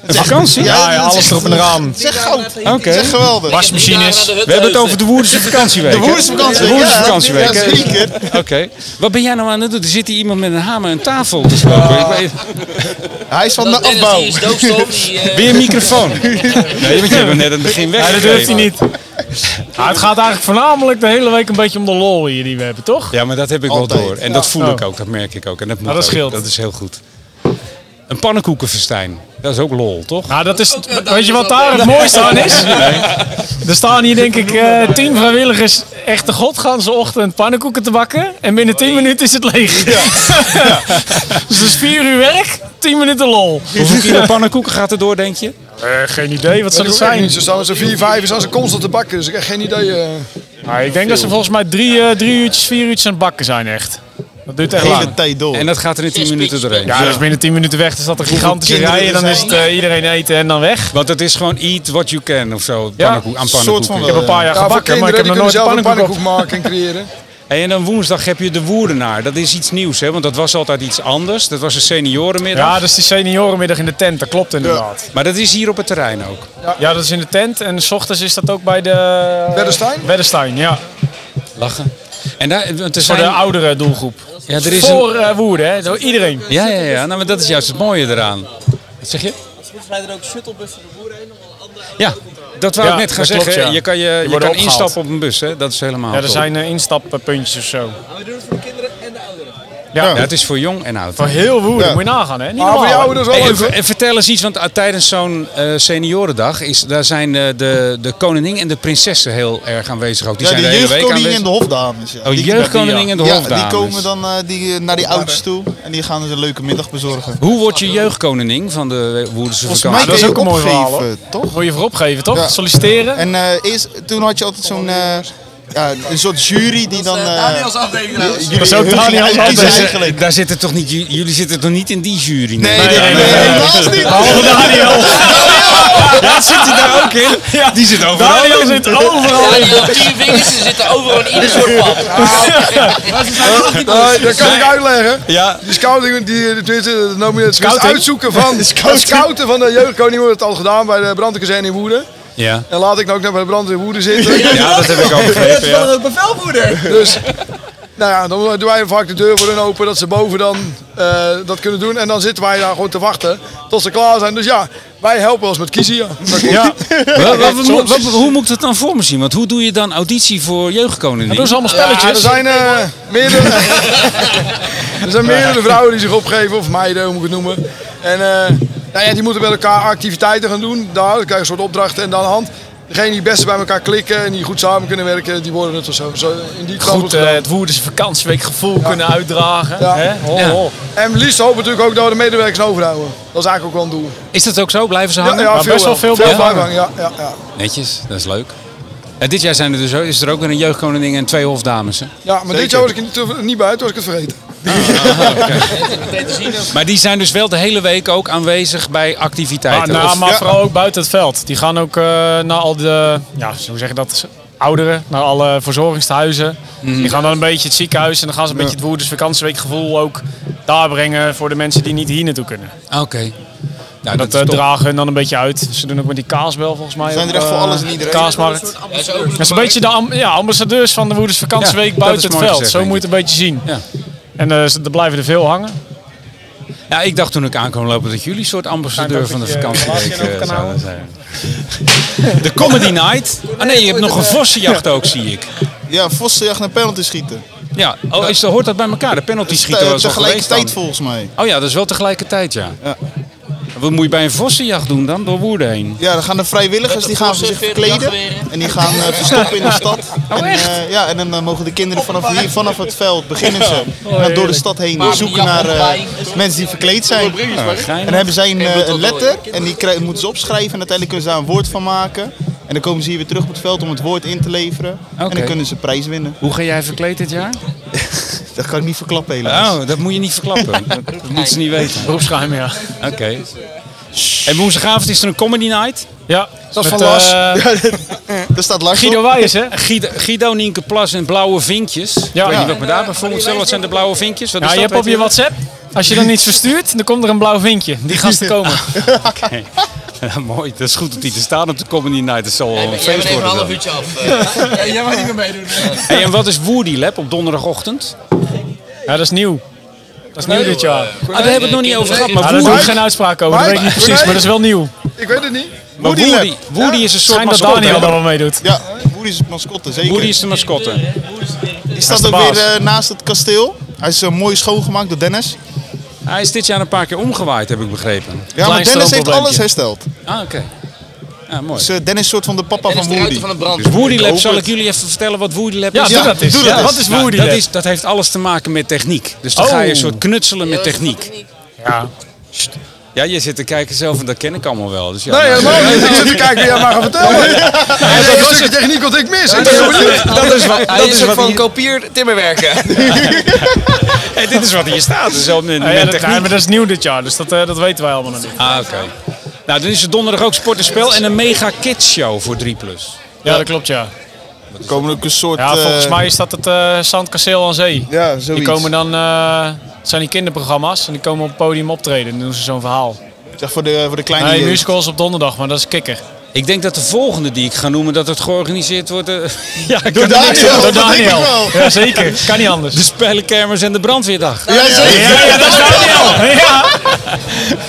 [SPEAKER 4] Het is echt-
[SPEAKER 2] vakantie?
[SPEAKER 3] Ja, ja,
[SPEAKER 4] dat is
[SPEAKER 3] alles
[SPEAKER 4] echt-
[SPEAKER 3] erop en eraan. Ah,
[SPEAKER 4] Het is echt goud.
[SPEAKER 2] Oké.
[SPEAKER 4] Het is echt geweldig.
[SPEAKER 3] Wasmachines.
[SPEAKER 2] We hebben het over eh, de Woerdense vakantieweek.
[SPEAKER 4] De
[SPEAKER 2] hè?
[SPEAKER 4] woerse
[SPEAKER 2] De
[SPEAKER 4] vakantieweek.
[SPEAKER 2] Woerdense
[SPEAKER 4] ja.
[SPEAKER 2] vakantieweek.
[SPEAKER 4] Ja,
[SPEAKER 2] hè?
[SPEAKER 4] zeker.
[SPEAKER 2] Oké. Wat ben jij nou aan het doen? Er zit hier iemand met een hamer en tafel te slopen. Ik weet...
[SPEAKER 4] Hij is van de
[SPEAKER 7] Dennis,
[SPEAKER 4] afbouw.
[SPEAKER 7] die is doofstom, die, eh,
[SPEAKER 2] Weer een microfoon. Nee, want je hebt hem net aan het begin
[SPEAKER 3] Ja, dat
[SPEAKER 2] weggegeven.
[SPEAKER 3] durft hij niet. Ja, Nou, het gaat eigenlijk voornamelijk de hele week een beetje om de lol hier die we hebben, toch?
[SPEAKER 2] Ja, maar dat heb ik
[SPEAKER 4] Altijd.
[SPEAKER 2] wel door. En dat voel
[SPEAKER 3] Oh.
[SPEAKER 2] ik ook, dat merk ik ook. En Ah, dat, moet
[SPEAKER 3] Nou, dat
[SPEAKER 2] ook.
[SPEAKER 3] scheelt.
[SPEAKER 2] Dat is heel goed. Een pannenkoekenfestijn. Dat is ook lol, toch?
[SPEAKER 3] Nou, dat
[SPEAKER 7] eh,
[SPEAKER 3] is,
[SPEAKER 7] dat
[SPEAKER 3] weet je
[SPEAKER 7] is
[SPEAKER 3] wat
[SPEAKER 7] wel
[SPEAKER 3] daar het mooiste aan is? Er staan hier denk ik eh, tien vrijwilligers echt de godganse ochtend pannenkoeken te bakken. En binnen tien minuten is het leeg. dus dat is vier uur werk, tien minuten lol.
[SPEAKER 2] Hoeveel kilo pannenkoeken gaat er door, denk je?
[SPEAKER 3] geen idee, wat
[SPEAKER 5] Dat
[SPEAKER 3] zou
[SPEAKER 5] is
[SPEAKER 3] dat
[SPEAKER 5] ook
[SPEAKER 3] zijn?
[SPEAKER 5] niet. Ze staan met z'n 4, 5 staan ze constant te bakken. Dus ik heb geen idee. eh.
[SPEAKER 3] Nou, ik denk dat ze volgens mij drie, eh, drie uurtjes, vier uurtjes aan het bakken zijn echt. Dat duurt echt
[SPEAKER 4] De
[SPEAKER 3] lang.
[SPEAKER 4] hele tijd door.
[SPEAKER 2] En dat gaat er in 10 minuten doorheen.
[SPEAKER 3] Ja, dus binnen 10 minuten weg is dat een gigantische
[SPEAKER 4] kinderen
[SPEAKER 3] rij. En dan
[SPEAKER 4] er
[SPEAKER 3] is het eh, iedereen eten en dan weg.
[SPEAKER 2] Want het is gewoon eat what you can of zo.
[SPEAKER 3] Ja,
[SPEAKER 2] Pannenkoek, aan
[SPEAKER 4] soort
[SPEAKER 2] pannenkoeken.
[SPEAKER 4] van
[SPEAKER 3] Ik heb een paar jaar
[SPEAKER 5] Ja, voor
[SPEAKER 3] gebakken, maar ik
[SPEAKER 5] kinderen
[SPEAKER 3] heb
[SPEAKER 5] die
[SPEAKER 3] nog nooit
[SPEAKER 5] kunnen zelf een
[SPEAKER 3] pannenkoek
[SPEAKER 5] pannenkoek
[SPEAKER 3] op.
[SPEAKER 5] maken en creëren.
[SPEAKER 2] Hey, en dan woensdag heb je de Woerdenaar. Dat is iets nieuws, hè? Want dat was altijd iets anders. Dat was een seniorenmiddag.
[SPEAKER 3] Ja, dat is die seniorenmiddag in de tent, dat klopt inderdaad.
[SPEAKER 2] Maar dat is hier op het terrein ook.
[SPEAKER 3] Ja, dat is in de tent en s ochtends is dat ook bij de...
[SPEAKER 5] Weddenstein?
[SPEAKER 3] Weddenstein, ja.
[SPEAKER 2] Lachen. En daar, want er
[SPEAKER 3] Voor de
[SPEAKER 2] zijn,
[SPEAKER 3] oudere doelgroep.
[SPEAKER 2] ja, er is een,
[SPEAKER 3] Voor eh, Woerden, hè. Door iedereen.
[SPEAKER 2] ja, ja, ja. Nou, maar dat is juist het mooie eraan. Wat zeg je?
[SPEAKER 6] Volgens mij er ook shuttlebussen de boeren heen. om alle andere
[SPEAKER 2] Ja, Dat wou
[SPEAKER 3] Ja,
[SPEAKER 2] ik net gaan
[SPEAKER 3] dat klopt,
[SPEAKER 2] zeggen.
[SPEAKER 3] ja.
[SPEAKER 2] Je kan, je, je
[SPEAKER 3] worden
[SPEAKER 2] kan
[SPEAKER 3] opgehaald.
[SPEAKER 2] instappen op een bus, hè? dat is helemaal
[SPEAKER 3] Ja, er
[SPEAKER 2] top.
[SPEAKER 3] zijn eh, instappuntjes of zo.
[SPEAKER 6] Maar we doen het voor de kinderen en de ouderen.
[SPEAKER 2] Ja, het is voor jong en oud.
[SPEAKER 3] Voor heel woede,
[SPEAKER 4] Ja.
[SPEAKER 3] moet je nagaan, hè? Niet
[SPEAKER 5] Maar Ah, voor
[SPEAKER 3] normaal,
[SPEAKER 5] jou
[SPEAKER 3] hè?
[SPEAKER 5] dat is
[SPEAKER 2] Hey,
[SPEAKER 5] wel
[SPEAKER 2] en,
[SPEAKER 5] leuk.
[SPEAKER 2] ver- en vertel eens iets, want eh, tijdens zo'n eh, seniorendag is, daar zijn eh, de, de koningin en de prinsessen heel erg aanwezig. Ook. Die
[SPEAKER 4] Ja,
[SPEAKER 2] zijn
[SPEAKER 4] de
[SPEAKER 2] de hele week
[SPEAKER 4] jeugdkoningin
[SPEAKER 2] aanwezig.
[SPEAKER 4] en de hofdames. Ja.
[SPEAKER 2] Oh,
[SPEAKER 4] Die-
[SPEAKER 2] jeugdkoningin en de
[SPEAKER 4] ja,
[SPEAKER 2] hofdames.
[SPEAKER 4] die komen dan eh, die, eh, naar die ouders toe en die gaan ze een leuke middag bezorgen.
[SPEAKER 2] Hoe word je jeugdkoningin van de Woerdense
[SPEAKER 4] Volgens mij
[SPEAKER 2] vakantie?
[SPEAKER 3] dat is
[SPEAKER 4] kun
[SPEAKER 3] ook
[SPEAKER 4] je
[SPEAKER 3] een mooi verhaal,
[SPEAKER 4] opgeven, toch?
[SPEAKER 3] Wil je voor opgeven, toch?
[SPEAKER 4] Ja.
[SPEAKER 3] Solliciteren.
[SPEAKER 4] En eh, eerst, toen had je altijd zo'n eh, ja, een soort jury die dan... eh,
[SPEAKER 6] Daniels nou. afdeling trouwens.
[SPEAKER 4] jullie-
[SPEAKER 3] is ook
[SPEAKER 4] hun
[SPEAKER 3] Daniel
[SPEAKER 4] gingen uitkiezen
[SPEAKER 3] Anders.
[SPEAKER 4] eigenlijk.
[SPEAKER 2] Daar zitten toch niet, ju- jullie zitten toch niet in die jury?
[SPEAKER 4] Nee,
[SPEAKER 2] neem ik
[SPEAKER 4] nee,
[SPEAKER 2] aan?
[SPEAKER 4] nee,
[SPEAKER 3] nee, nee. Oh,
[SPEAKER 4] helaas niet.
[SPEAKER 3] Hallo Daniel.
[SPEAKER 2] Ja, zit hij daar ook in?
[SPEAKER 3] Ja.
[SPEAKER 2] Die zit overal.
[SPEAKER 3] Daniel
[SPEAKER 2] in.
[SPEAKER 3] zit overal in.
[SPEAKER 7] Daniel, tien vingers ze zitten overal in ieder soort pap.
[SPEAKER 5] Nee, dat kan ik uitleggen.
[SPEAKER 2] Ja.
[SPEAKER 5] Die scouting, die, die, die, die noemen het
[SPEAKER 2] Scouting?
[SPEAKER 5] uitzoeken van het scouten van de jeugdkoning wordt het al gedaan bij de brandweerkazerne in Woerden.
[SPEAKER 2] Ja.
[SPEAKER 5] En laat ik nou ook naar bij de brandweer in Woerden zitten.
[SPEAKER 2] ja, dat heb ik al
[SPEAKER 6] Dat
[SPEAKER 2] begrepen.
[SPEAKER 6] is wel
[SPEAKER 2] Ja.
[SPEAKER 6] een bevelvoerder.
[SPEAKER 5] Dus, nou ja, dan doen wij vaak de deur voor hun open, dat ze boven dan eh, dat kunnen doen. En dan zitten wij daar gewoon te wachten tot ze klaar zijn. Dus ja, wij helpen ons met kiezen. Ja.
[SPEAKER 3] Ja.
[SPEAKER 2] Wat- wat- wat- wat- hoe moet ik dat dan voor me zien? Want hoe doe je dan auditie voor jeugdkoningin?
[SPEAKER 3] Doe ze allemaal
[SPEAKER 5] Ja, er
[SPEAKER 3] spelletjes.
[SPEAKER 5] zijn eh, meerdere, er zijn meerdere vrouwen die zich opgeven, of meiden, hoe moet ik het noemen. En eh, nou ja, die moeten met elkaar activiteiten gaan doen. Daar dan krijg je een soort opdrachten en dan hand. Degene die het beste bij elkaar klikken en die goed samen kunnen werken, die worden het of zo. zo in die kant
[SPEAKER 3] Goed
[SPEAKER 5] wordt
[SPEAKER 3] eh,
[SPEAKER 5] het gedaan.
[SPEAKER 3] het Woerdense vakantieweekgevoel kunnen uitdragen.
[SPEAKER 5] Ja.
[SPEAKER 3] Hè? Ho,
[SPEAKER 2] Ja.
[SPEAKER 3] ho.
[SPEAKER 5] En liefst hopen we natuurlijk ook dat we de medewerkers overhouden. Dat is eigenlijk ook wel een doel.
[SPEAKER 2] Is dat ook zo? Blijven ze hangen?
[SPEAKER 3] Maar best wel veel blijven
[SPEAKER 5] bijvang, Ja, ja, ja.
[SPEAKER 2] Netjes, dat is leuk. En dit jaar zijn er dus, ook- is er ook weer een jeugdkoningin en twee hofdames. Hè?
[SPEAKER 5] ja maar dit jaar was ik er niet, te- niet bij, toen was ik het vergeten.
[SPEAKER 2] Maar die zijn dus wel de hele week ook aanwezig bij
[SPEAKER 3] Maar,
[SPEAKER 2] activiteiten.
[SPEAKER 3] nou,
[SPEAKER 2] Of-
[SPEAKER 3] maar vooral ook buiten het veld. Die gaan ook eh, naar al de, ja, hoe zeg je dat, ouderen, naar alle verzorgingstehuizen.
[SPEAKER 2] Mhm.
[SPEAKER 3] Die gaan dan een beetje het ziekenhuis en dan gaan ze een beetje het Woerders vakantieweekgevoel ook daar brengen voor de mensen die niet hier naartoe kunnen.
[SPEAKER 2] Ah, Oké. Nou,
[SPEAKER 3] Dat,
[SPEAKER 2] is
[SPEAKER 3] eh,
[SPEAKER 2] top.
[SPEAKER 3] dragen hun dan een beetje uit. Ze doen ook met die kaasbel volgens mij.
[SPEAKER 4] Zijn er
[SPEAKER 3] op,
[SPEAKER 4] echt voor
[SPEAKER 3] eh,
[SPEAKER 4] alles en iedereen?
[SPEAKER 3] Kaasmarkt. Dat is een beetje de am- ja, ambassadeurs van de Woerders vakantieweek
[SPEAKER 2] Ja, dat is
[SPEAKER 3] buiten het
[SPEAKER 2] mooi
[SPEAKER 3] veld.
[SPEAKER 2] gezegd,
[SPEAKER 3] Zo
[SPEAKER 2] denk
[SPEAKER 3] moet je het een beetje zien.
[SPEAKER 2] Ja.
[SPEAKER 3] En eh, ze- er blijven er veel hangen.
[SPEAKER 2] Ja, ik dacht toen ik aankwam lopen dat jullie een soort ambassadeur van de vakantieweek eh, zouden zijn. De Comedy Night. Ah nee, je hebt nog een vossenjacht ook, zie ik.
[SPEAKER 4] Ja, vossenjacht en penalty schieten.
[SPEAKER 2] Ja, oh, is, hoort dat bij elkaar? De penalty schieten
[SPEAKER 4] Te-
[SPEAKER 2] was al geweest dan.
[SPEAKER 4] eh, Tegelijkertijd volgens mij.
[SPEAKER 2] Oh ja, dat is wel tegelijkertijd, ja.
[SPEAKER 4] Ja.
[SPEAKER 2] Wat moet je bij een vossenjacht doen dan? Door Woerden heen.
[SPEAKER 4] Ja, dan gaan de vrijwilligers die gaan zich verkleden. En die gaan eh, verstoppen in de stad.
[SPEAKER 3] Oh,
[SPEAKER 4] en, eh, ja, en dan eh, mogen de kinderen vanaf, hier, vanaf het veld beginnen ze.
[SPEAKER 3] Oh,
[SPEAKER 4] En dan door de stad heen zoeken naar eh, mensen die verkleed zijn. En dan hebben zij een, eh, een letter en die krij- moeten ze opschrijven. En uiteindelijk kunnen ze daar een woord van maken. En dan komen ze hier weer terug op het veld om het woord in te leveren. En
[SPEAKER 2] Oké.
[SPEAKER 4] dan kunnen ze prijs winnen.
[SPEAKER 2] Hoe ga jij verkleed dit jaar?
[SPEAKER 4] Dat kan ik niet verklappen helaas.
[SPEAKER 2] Oh, dat moet je niet verklappen. Dat, dat moeten ze niet weten.
[SPEAKER 3] Beroepsgeheim, ja.
[SPEAKER 2] Oké. En woensdagavond is er een comedy night.
[SPEAKER 3] Ja,
[SPEAKER 5] Dat is
[SPEAKER 3] met,
[SPEAKER 5] van Lars.
[SPEAKER 3] eh,
[SPEAKER 4] Daar staat Lars
[SPEAKER 3] Guido
[SPEAKER 4] op.
[SPEAKER 3] Wijs, hè?
[SPEAKER 2] Guido, Guido Nienke Plas en Blauwe Vinkjes. Ik weet niet wat ik me daarbij voor moet stellen. Wat zijn de Blauwe Vinkjes? Wat is
[SPEAKER 3] Ja, je
[SPEAKER 2] Dus dat,
[SPEAKER 3] hebt op
[SPEAKER 2] weet
[SPEAKER 3] je WhatsApp, als je dan iets verstuurt, dan komt er een blauw vinkje. Die gasten komen.
[SPEAKER 2] Ja, mooi. Dat is goed dat die te staan op de comedy night. Dat zal wel een
[SPEAKER 7] Jij bent
[SPEAKER 2] feest
[SPEAKER 7] even een
[SPEAKER 2] worden.
[SPEAKER 7] half
[SPEAKER 2] dan.
[SPEAKER 7] uurtje af. eh.
[SPEAKER 6] Ja, jij mag niet meer meedoen.
[SPEAKER 2] Hey, en wat is Woody Lab op donderdagochtend?
[SPEAKER 3] Ja, dat is nieuw. Dat is nieuw dit jaar.
[SPEAKER 2] Ah, daar hebben we het nog niet over gehad. Maar
[SPEAKER 3] Ja, daar doe ik
[SPEAKER 2] Woody,
[SPEAKER 3] geen uitspraak over, dat weet ik niet precies, maar dat is wel nieuw.
[SPEAKER 5] Ik weet het niet.
[SPEAKER 2] maar
[SPEAKER 4] Woody
[SPEAKER 2] Woody, Woody is een soort
[SPEAKER 3] Schijnt dat
[SPEAKER 2] mascotte.
[SPEAKER 3] Daniel daar
[SPEAKER 2] hè?
[SPEAKER 3] wel meedoet.
[SPEAKER 4] Ja, Boer is het mascotte, zeker.
[SPEAKER 2] Woody is de mascotte.
[SPEAKER 4] Die staat
[SPEAKER 3] Hij
[SPEAKER 4] ook
[SPEAKER 3] is de
[SPEAKER 4] weer
[SPEAKER 3] baas.
[SPEAKER 4] eh, naast het kasteel. Hij is eh, mooi schoongemaakt door Dennis.
[SPEAKER 2] Hij is dit jaar een paar keer omgewaaid, heb ik begrepen.
[SPEAKER 4] Ja, maar
[SPEAKER 3] Klein
[SPEAKER 4] Dennis heeft
[SPEAKER 3] stroomprobleempje.
[SPEAKER 4] alles hersteld.
[SPEAKER 2] Ah, oké. Ja, mooi.
[SPEAKER 4] Dus eh, Dennis is soort van de papa
[SPEAKER 7] Dennis
[SPEAKER 4] van
[SPEAKER 7] de
[SPEAKER 4] Woody.
[SPEAKER 7] Ruiter van de brand.
[SPEAKER 2] Woody Lab,
[SPEAKER 4] hoop
[SPEAKER 2] zal
[SPEAKER 4] het.
[SPEAKER 2] ik jullie even vertellen wat Woody Lab
[SPEAKER 3] Ja,
[SPEAKER 2] is?
[SPEAKER 3] doe dat eens.
[SPEAKER 4] doe dat
[SPEAKER 3] Ja,
[SPEAKER 4] eens.
[SPEAKER 3] Wat is Woody
[SPEAKER 2] dat,
[SPEAKER 3] Lab?
[SPEAKER 2] is, dat heeft alles te maken met techniek. Dus dan
[SPEAKER 3] Oh.
[SPEAKER 2] ga je een soort knutselen met techniek.
[SPEAKER 3] Ja.
[SPEAKER 2] Ja, je zit te kijken zelf en dat ken ik allemaal wel. Dus ja,
[SPEAKER 5] Nee,
[SPEAKER 2] nou,
[SPEAKER 5] helemaal niet. Ik zit te kijken wie jij maar gaat vertellen. En dat stukje techniek wat ik mis. Ik ben heel benieuwd.
[SPEAKER 7] Dat is wat. Hij
[SPEAKER 2] dat
[SPEAKER 7] is
[SPEAKER 2] is
[SPEAKER 7] een soort
[SPEAKER 2] wat
[SPEAKER 7] van
[SPEAKER 2] hier-
[SPEAKER 7] kopier timmerwerken.
[SPEAKER 2] hey, dit is wat hier staat. Dus zelf met,
[SPEAKER 3] Ja, ja,
[SPEAKER 2] met
[SPEAKER 3] dat,
[SPEAKER 2] techniek.
[SPEAKER 3] ja, maar dat is nieuw dit jaar, dus dat, eh, dat weten wij allemaal nog niet.
[SPEAKER 2] Ah, oké. Nou, dan is er donderdag ook sport en spel en een mega kids show voor 3+.
[SPEAKER 3] Ja, dat klopt, ja.
[SPEAKER 4] Er komen ook een soort...
[SPEAKER 3] Ja, volgens
[SPEAKER 4] eh,
[SPEAKER 3] mij is dat het eh, Zandkasteel aan Zee.
[SPEAKER 4] Ja, zoiets.
[SPEAKER 3] Die komen dan, eh, het zijn die kinderprogramma's, en die komen op het podium optreden en dan doen ze zo'n verhaal.
[SPEAKER 4] Zeg, voor, de, voor de kleine
[SPEAKER 3] Nee,
[SPEAKER 4] jeugd.
[SPEAKER 3] musicals op donderdag, maar dat is kikker.
[SPEAKER 2] Ik denk dat de volgende die ik ga noemen, dat het georganiseerd wordt eh,
[SPEAKER 3] Ja, ik
[SPEAKER 4] Door
[SPEAKER 3] kan niet-
[SPEAKER 4] Daniel,
[SPEAKER 3] Door
[SPEAKER 4] dat denk ik
[SPEAKER 3] Daniel. Dus-
[SPEAKER 4] wel.
[SPEAKER 3] Ja, zeker. Kan niet anders.
[SPEAKER 2] de Spellenkermers en de Brandweerdag.
[SPEAKER 4] Ja, zeker.
[SPEAKER 3] Ja, ja, dat is Daniel. Ja.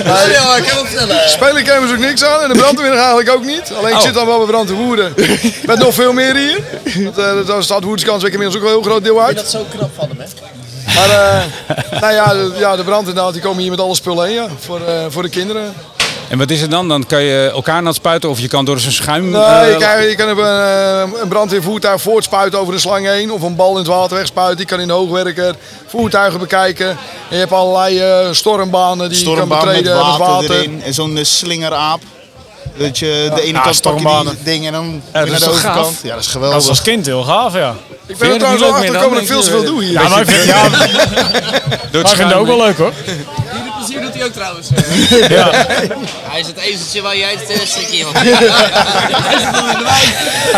[SPEAKER 6] Ja, ik heb hem vertellen.
[SPEAKER 5] Spelen kan ze ook niks aan en de brandweer eigenlijk ook niet. Alleen ik zit dan wel bij Brand te Woerden. Met nog veel meer hier. Want eh daar staat Woerdenskans inmiddels ook wel een heel groot deel uit.
[SPEAKER 6] Dat is zo knap van hem, hè?
[SPEAKER 5] Maar eh, nou ja, de, ja, de brand inderdaad, die komen hier met alle spullen heen ja, voor, eh, voor de kinderen.
[SPEAKER 2] En wat is het dan? Dan kan je elkaar aan het spuiten of je kan door zijn schuim...
[SPEAKER 5] Nee,
[SPEAKER 2] eh,
[SPEAKER 5] je, kan, je kan een, eh, een brandweervoertuig voortspuiten over de slang heen. Of een bal in het water wegspuiten. Die kan in de hoogwerker voertuigen bekijken. En je hebt allerlei eh, stormbanen die je
[SPEAKER 4] Stormbaan
[SPEAKER 5] kan
[SPEAKER 4] met
[SPEAKER 3] eh,
[SPEAKER 5] betreden
[SPEAKER 4] water, erin en zo'n eh, slingeraap. Dat je de ene
[SPEAKER 6] Ja,
[SPEAKER 4] kant pak je
[SPEAKER 6] stormbanen.
[SPEAKER 4] die ding en dan
[SPEAKER 3] dat
[SPEAKER 4] weer
[SPEAKER 3] is
[SPEAKER 4] naar de
[SPEAKER 3] toch
[SPEAKER 4] overkant.
[SPEAKER 3] gaaf?
[SPEAKER 4] Ja, dat is
[SPEAKER 3] Dat is
[SPEAKER 4] geweldig.
[SPEAKER 3] als kind heel gaaf, ja.
[SPEAKER 5] Ik
[SPEAKER 2] Vind
[SPEAKER 5] ben
[SPEAKER 2] je
[SPEAKER 5] er
[SPEAKER 2] dat niet leuk
[SPEAKER 5] trouwens wel
[SPEAKER 2] meer dan?
[SPEAKER 5] achter gekomen dat ik veel te veel doe hier.
[SPEAKER 3] Ja, maar ik vind, ja, maar
[SPEAKER 2] door
[SPEAKER 3] ik vind het ook wel leuk hoor.
[SPEAKER 6] Jullie plezier doet hij ook trouwens.
[SPEAKER 7] Hij is het ezeltje waar jij het eh, strikje in
[SPEAKER 3] Ja,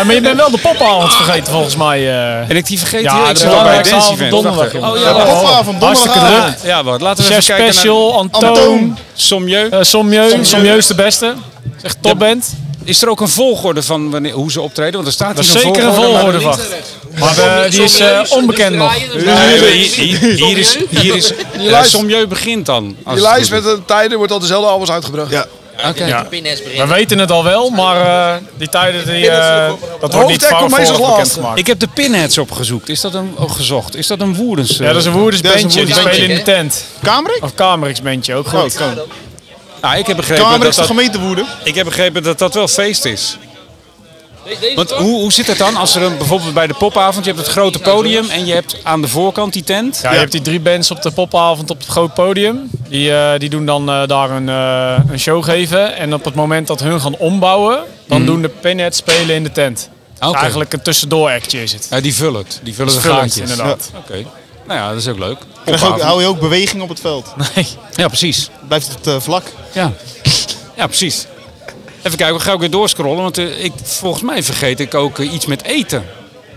[SPEAKER 3] maar je bent wel de popavond vergeten volgens mij. eh.
[SPEAKER 2] En ik die vergeten,
[SPEAKER 3] Ja,
[SPEAKER 2] ja, ik
[SPEAKER 3] de
[SPEAKER 2] zat al bij
[SPEAKER 3] belangrijkste
[SPEAKER 2] Dance
[SPEAKER 3] avond
[SPEAKER 2] Event.
[SPEAKER 3] donderdag,
[SPEAKER 2] Wacht even.
[SPEAKER 3] jongen.
[SPEAKER 2] Oh,
[SPEAKER 4] Ja,
[SPEAKER 2] ja,
[SPEAKER 3] Ja,
[SPEAKER 2] wacht.
[SPEAKER 4] popavond,
[SPEAKER 3] Hartstikke
[SPEAKER 4] donderdag.
[SPEAKER 3] druk.
[SPEAKER 2] ja, wat. Laten we
[SPEAKER 3] Chef
[SPEAKER 2] even kijken naar...
[SPEAKER 3] Special, Antoon,
[SPEAKER 4] Antoon.
[SPEAKER 2] Somjeu.
[SPEAKER 3] eh Somjeu. Somjeu is de beste. Is echt topband.
[SPEAKER 2] Is er ook een volgorde van wanneer, hoe ze optreden? Want er staat
[SPEAKER 3] Dat is
[SPEAKER 2] hier
[SPEAKER 3] zeker een
[SPEAKER 2] maar-
[SPEAKER 3] volgorde van. Maar eh, die is eh, onbekend nog.
[SPEAKER 2] Nee, maar hier, hier- hier is, hier is eh,
[SPEAKER 5] lijst-
[SPEAKER 2] Somjeu begint dan. als
[SPEAKER 5] Die
[SPEAKER 2] het
[SPEAKER 5] lijst
[SPEAKER 2] goed
[SPEAKER 5] met
[SPEAKER 2] is.
[SPEAKER 5] de tijden wordt al dezelfde avonds uitgebracht.
[SPEAKER 4] Ja.
[SPEAKER 2] Oké.
[SPEAKER 3] We weten het al wel, maar eh, die tijden die, eh, dat wordt niet
[SPEAKER 5] Hoofdtek
[SPEAKER 3] van
[SPEAKER 5] komt
[SPEAKER 3] voor
[SPEAKER 5] meestal
[SPEAKER 3] bekend
[SPEAKER 5] laatst.
[SPEAKER 3] gemaakt.
[SPEAKER 2] Ik heb de Pinheads opgezoekt. Is dat een, oh, gezocht? Is dat een Woerdens? eh?
[SPEAKER 3] Ja, dat is een woerders
[SPEAKER 4] Dat is een
[SPEAKER 3] bandje. Die
[SPEAKER 4] Woerders
[SPEAKER 3] spelen in de
[SPEAKER 7] bandje,
[SPEAKER 3] tent.
[SPEAKER 4] Kamerik?
[SPEAKER 3] Of Kamerix bandje, ook
[SPEAKER 4] Oh,
[SPEAKER 3] goed.
[SPEAKER 4] kan.
[SPEAKER 2] Nou, ik, heb begrepen
[SPEAKER 4] Kamerik
[SPEAKER 2] dat
[SPEAKER 4] is de
[SPEAKER 2] dat,
[SPEAKER 4] gemeentewoede.
[SPEAKER 2] ik heb begrepen dat dat wel feest is.
[SPEAKER 7] Want
[SPEAKER 2] Want hoe, hoe zit het dan als er een, bijvoorbeeld bij de popavond, je hebt het grote podium en je hebt aan de voorkant die tent.
[SPEAKER 3] Ja, je hebt die drie bands op de popavond op het groot podium. Die, eh, die doen dan eh, daar een, eh, een show geven. En op het moment dat hun gaan ombouwen, dan doen de pinheads spelen in de tent. Dus
[SPEAKER 2] Oké.
[SPEAKER 3] eigenlijk een tussendoor actje is het.
[SPEAKER 2] Ja, die vullen het. Die vullen de
[SPEAKER 3] Vullend,
[SPEAKER 2] gaatjes.
[SPEAKER 3] inderdaad.
[SPEAKER 2] Oké. Nou ja, dat is ook leuk.
[SPEAKER 4] Krijg je ook,
[SPEAKER 2] Popavond.
[SPEAKER 4] hou je ook beweging op het veld.
[SPEAKER 2] Ja, precies.
[SPEAKER 4] Blijft het eh, vlak.
[SPEAKER 2] Ja. ja, precies. Even kijken, we gaan ook weer doorscrollen. Want eh, ik, volgens mij vergeet ik ook eh, iets met eten.